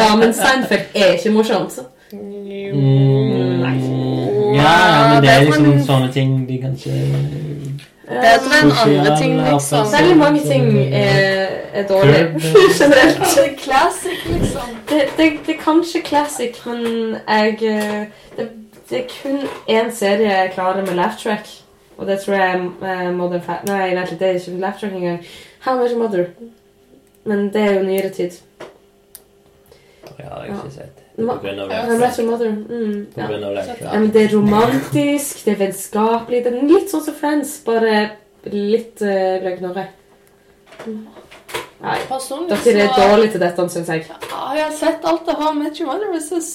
[SPEAKER 7] ja, men Seinfeld er ikke morsomt.
[SPEAKER 3] Mm,
[SPEAKER 7] Nei.
[SPEAKER 3] ja, ja, men det
[SPEAKER 2] Det er
[SPEAKER 3] er liksom
[SPEAKER 2] sånn-
[SPEAKER 3] sånne ting de kanskje
[SPEAKER 2] Bedre enn andre ting,
[SPEAKER 3] Sosiale
[SPEAKER 2] liksom.
[SPEAKER 3] atlas.
[SPEAKER 7] Eh, Veldig mange ting eh, er, er dårlig generelt.
[SPEAKER 9] Classic, liksom.
[SPEAKER 7] Det, det, det er kanskje classic, men jeg eh, Det, det er kun én serie jeg klarer med laugh track. Og det tror jeg eh, Modern Fa... Nei, vent litt, det er ikke laugh track engang. How Much Mother. Men det er jo nyere tid.
[SPEAKER 3] Ja, jeg har ikke sett. Det er
[SPEAKER 7] Ma-
[SPEAKER 3] På grunn av
[SPEAKER 7] How Much
[SPEAKER 3] det.
[SPEAKER 7] Mother. Mm,
[SPEAKER 3] På
[SPEAKER 7] ja.
[SPEAKER 3] grunn av det.
[SPEAKER 7] Ja, men det er romantisk, det er vennskapelig. Det er litt sånn som Friends, bare litt uh, løgnere. Mm. Nei.
[SPEAKER 9] Personlig
[SPEAKER 7] Dere er
[SPEAKER 9] så
[SPEAKER 7] dårlige til dette, syns jeg.
[SPEAKER 9] har jeg sett alt det har med Joanna Mrs.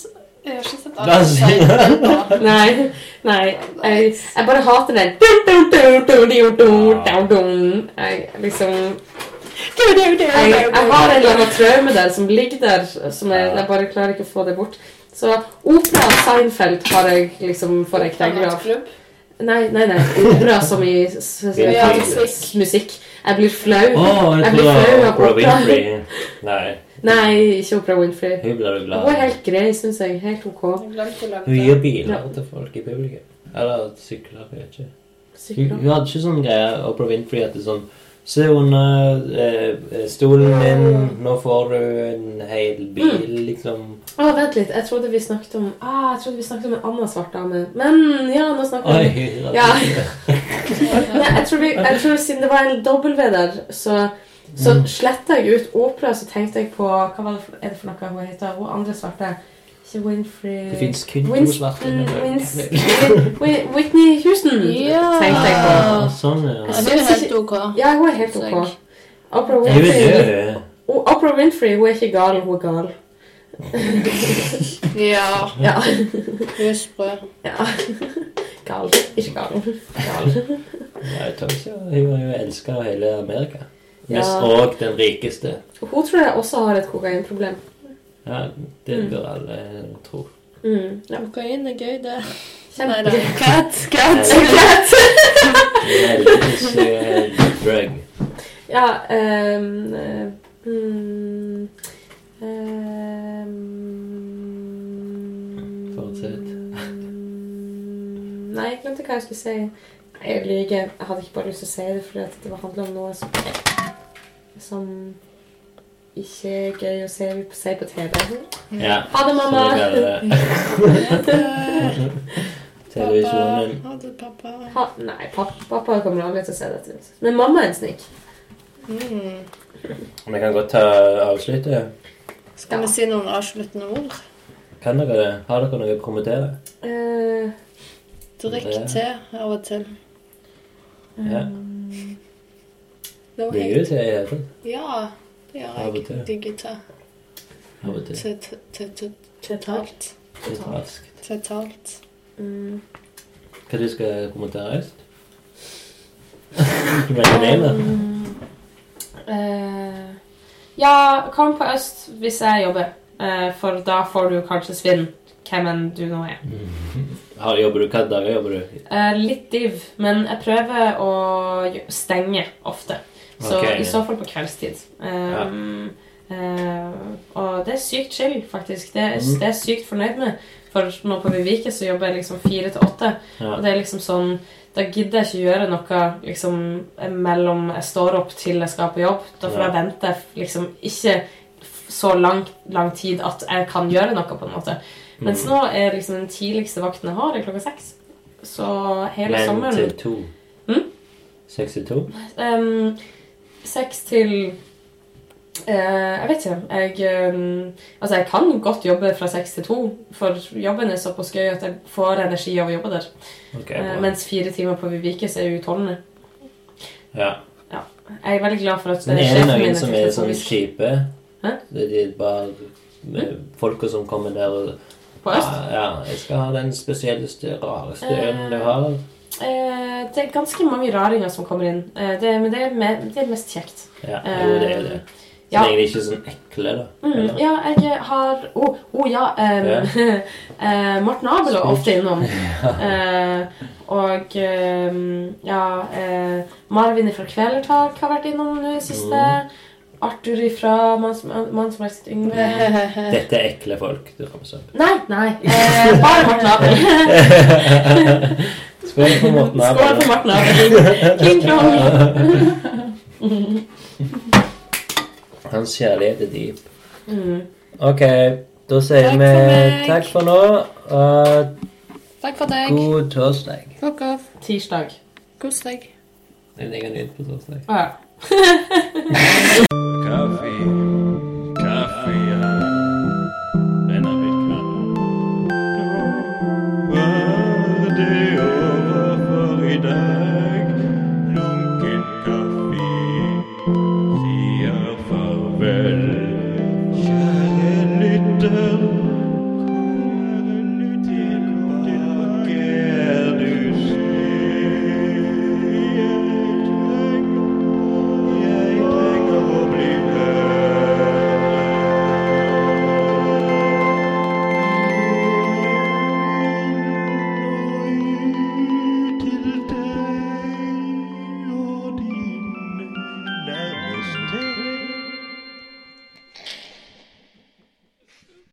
[SPEAKER 9] Jeg har ikke sett
[SPEAKER 3] Da
[SPEAKER 9] alt.
[SPEAKER 3] sier-
[SPEAKER 9] det har med Seinfeld, da.
[SPEAKER 7] Nei. nei jeg, jeg bare hater den Dun, dun, dun, dun, dun, dun, dun, dun. Jeg liksom jeg, jeg har en eller annen traume der som ligger der, som jeg, jeg bare klarer ikke å få det bort. Så opera Seinfeld har jeg liksom får jeg krenker av.
[SPEAKER 9] Nattklubb.
[SPEAKER 7] Nei, nei, nei. Opera som i s- s-
[SPEAKER 3] Ja,
[SPEAKER 7] s- musikk. Jeg blir
[SPEAKER 3] Å,
[SPEAKER 7] flau.
[SPEAKER 3] jeg
[SPEAKER 7] Jeg
[SPEAKER 3] tror
[SPEAKER 7] blir
[SPEAKER 3] det
[SPEAKER 7] flau
[SPEAKER 3] var
[SPEAKER 7] av
[SPEAKER 3] Oprah
[SPEAKER 7] opera.
[SPEAKER 3] Winfrey. Nei,
[SPEAKER 7] Nei, ikke Opera Winfrey.
[SPEAKER 3] hun blir jo
[SPEAKER 7] Hun er
[SPEAKER 3] glad.
[SPEAKER 7] helt grei, syns jeg. Helt OK.
[SPEAKER 9] Jeg glemte å
[SPEAKER 3] Hun
[SPEAKER 9] løpe.
[SPEAKER 3] gir biler til folk i publikum. Eller sykler, jeg vet ikke. Hun,
[SPEAKER 7] Sikkert.
[SPEAKER 3] hun hadde ikke sånn greie Oprah Winfrey at det er sånn Se under eh, stolen min, nå får du en hel bil,
[SPEAKER 7] Mm.
[SPEAKER 3] liksom.
[SPEAKER 7] Å, vent litt. Jeg trodde vi snakket om ah, jeg trodde vi snakket om en annen svart dame. Men ja, nå snakker
[SPEAKER 3] Oi,
[SPEAKER 7] vi om Ja. Nei, jeg tror, vi, jeg tror Siden det var en W der, så, så
[SPEAKER 3] Mm.
[SPEAKER 7] sletta jeg ut opera. Så tenkte jeg på Hva var det for, er det for noe hun heter? Hun andre svarte? Ikke Winfrey
[SPEAKER 3] Det fins kun to
[SPEAKER 7] Winst-
[SPEAKER 3] svarte
[SPEAKER 7] Win-
[SPEAKER 3] innenfor.
[SPEAKER 7] Win- Win- Whitney Houston tenkte jeg på.
[SPEAKER 3] Ah, sånn, ja.
[SPEAKER 9] Det er helt ok.
[SPEAKER 7] Ja, hun er helt ok. Oprah
[SPEAKER 3] Jeg vil
[SPEAKER 7] Winfrey,
[SPEAKER 3] dø.
[SPEAKER 7] hun, Oprah Winfrey hun er ikke gal, hun er gal.
[SPEAKER 2] Ja,
[SPEAKER 7] Ja.
[SPEAKER 2] hun er sprø.
[SPEAKER 7] ja. Gal. Ikke gal.
[SPEAKER 3] Nei, Tokyo hun har jo elska hele Amerika.
[SPEAKER 7] Ja.
[SPEAKER 3] Mest og den rikeste.
[SPEAKER 7] Hun tror jeg også har et kokainproblem.
[SPEAKER 3] Ja, det bør alle tro.
[SPEAKER 7] Mm, ja.
[SPEAKER 2] Kokain er gøy, det. Nei da.
[SPEAKER 7] Kjempe-
[SPEAKER 2] Kat, kat.
[SPEAKER 3] Helvetes eh, drug.
[SPEAKER 7] Ja, ehm, eh, mm, ehm,
[SPEAKER 3] Fortsett.
[SPEAKER 7] Nei, jeg glemte hva jeg skulle si. Nei, Jeg lyver. Jeg hadde ikke bare lyst til å si det fordi at det handla om noe som, som ikke er gøy å se, se på TV.
[SPEAKER 3] Ja.
[SPEAKER 7] Ha
[SPEAKER 3] så
[SPEAKER 7] det, mamma!
[SPEAKER 3] det blir det. visjonen.
[SPEAKER 2] Ha det, pappa.
[SPEAKER 7] Pa, nei, pappa, pappa kommer aldri til å se dette. ut. Men mamma er en snik.
[SPEAKER 2] Mm.
[SPEAKER 3] Vi kan godt ta avslutte.
[SPEAKER 2] Skal vi si noen avsluttende ord?
[SPEAKER 3] Kan dere det? Har dere noe å kommentere?
[SPEAKER 7] Eh,
[SPEAKER 2] Drikk
[SPEAKER 3] Det-
[SPEAKER 2] te av og til.
[SPEAKER 3] Ja.
[SPEAKER 2] Det var helt
[SPEAKER 3] Ligger det til i hele tatt?
[SPEAKER 2] Ja, det gjør
[SPEAKER 3] Av og
[SPEAKER 2] jeg.
[SPEAKER 3] til.
[SPEAKER 2] Digger te.
[SPEAKER 3] Av og til.
[SPEAKER 2] Te- te- te- te- Tetalt.
[SPEAKER 3] Litt raskt.
[SPEAKER 2] Tetalt.
[SPEAKER 7] mm,
[SPEAKER 3] Hva du skal kommentere øst? Du mener det, da?
[SPEAKER 7] Mm. eh, ja, kom på øst hvis jeg jobber. Eh, for da får du kanskje svinn, hvem enn du nå er.
[SPEAKER 3] Har, jobber du, hva dager jobber du?
[SPEAKER 7] Eh, litt div, men jeg prøver å gjø- stenge ofte. Så
[SPEAKER 3] Ok.
[SPEAKER 7] i så fall på kveldstid. Um, eh, og det er sykt chill, faktisk. Det er,
[SPEAKER 3] Mhm.
[SPEAKER 7] det er jeg sykt fornøyd med. For nå på Vivike så jobber jeg liksom fire til åtte.
[SPEAKER 3] Ja.
[SPEAKER 7] Og det er liksom sånn Da gidder jeg ikke gjøre noe liksom mellom jeg står opp til jeg skal på jobb. Da får
[SPEAKER 3] Ja.
[SPEAKER 7] jeg vente liksom ikke f- så lang, lang tid at jeg kan gjøre noe, på en måte. Mens
[SPEAKER 3] Mm.
[SPEAKER 7] nå er liksom den tidligste vakten jeg har, er klokka seks. Så hele
[SPEAKER 3] Men
[SPEAKER 7] sommeren
[SPEAKER 3] til to.
[SPEAKER 7] Mm?
[SPEAKER 3] Seks til to?
[SPEAKER 7] Ehm, Seks til eh, Jeg vet ikke. Jeg, ehm, altså jeg kan godt jobbe fra seks til to, for jobben er såpass gøy at jeg får energi av å jobbe der.
[SPEAKER 3] Ok,
[SPEAKER 7] Eh,
[SPEAKER 3] bra.
[SPEAKER 7] mens fire timer på Vivikes er utholdende.
[SPEAKER 3] Ja.
[SPEAKER 7] Jeg er veldig glad for at
[SPEAKER 3] Men
[SPEAKER 7] eh,
[SPEAKER 3] er det
[SPEAKER 7] sjefen min
[SPEAKER 3] noen som er
[SPEAKER 7] fryktelig
[SPEAKER 3] sånn
[SPEAKER 7] påvirket.
[SPEAKER 3] kjipe?
[SPEAKER 7] Hæ? Hm?
[SPEAKER 3] Det er de bare med folka som kommer der og
[SPEAKER 7] på øst?
[SPEAKER 3] Ja, ja, jeg skal ha den spesielleste, rareste ølen du
[SPEAKER 7] Eh.
[SPEAKER 3] har.
[SPEAKER 7] Eh, det er ganske mange raringer som kommer inn, eh, det, men det er, me det er mest kjekt.
[SPEAKER 3] Ja, jo, det er jo det. Så
[SPEAKER 7] eh, Ja.
[SPEAKER 3] lenge de ikke er sånn ekle, da.
[SPEAKER 7] Mm,
[SPEAKER 3] Eller?
[SPEAKER 7] ja, jeg har Å, å, ja. em, eh, Morten Abel er ofte innom. Eh, og em, ja eh, Marvin fra Kvelertak har vært innom nå i det siste.
[SPEAKER 3] Mm.
[SPEAKER 7] Arthur ifra Mann som Mann som helst yngre.
[SPEAKER 3] Mm.
[SPEAKER 7] eh.
[SPEAKER 3] Dette er ekle folk. Du ramser opp.
[SPEAKER 7] Nei, nei. Eh, bare Morten Abel.
[SPEAKER 3] Skål for Morten
[SPEAKER 7] Skål
[SPEAKER 3] Abel.
[SPEAKER 7] for Morten Abel. King Kong.
[SPEAKER 3] Hans kjærlighet er dyp.
[SPEAKER 7] Mm.
[SPEAKER 3] Ok, da sier
[SPEAKER 2] Takk for meg.
[SPEAKER 3] vi takk for nå, og
[SPEAKER 2] Takk for deg.
[SPEAKER 3] god torsdag.
[SPEAKER 2] Fuck off.
[SPEAKER 7] Tirsdag.
[SPEAKER 2] Kos deg.
[SPEAKER 3] Jeg legger den ut på torsdag.
[SPEAKER 7] Å ja.
[SPEAKER 10] Coffee.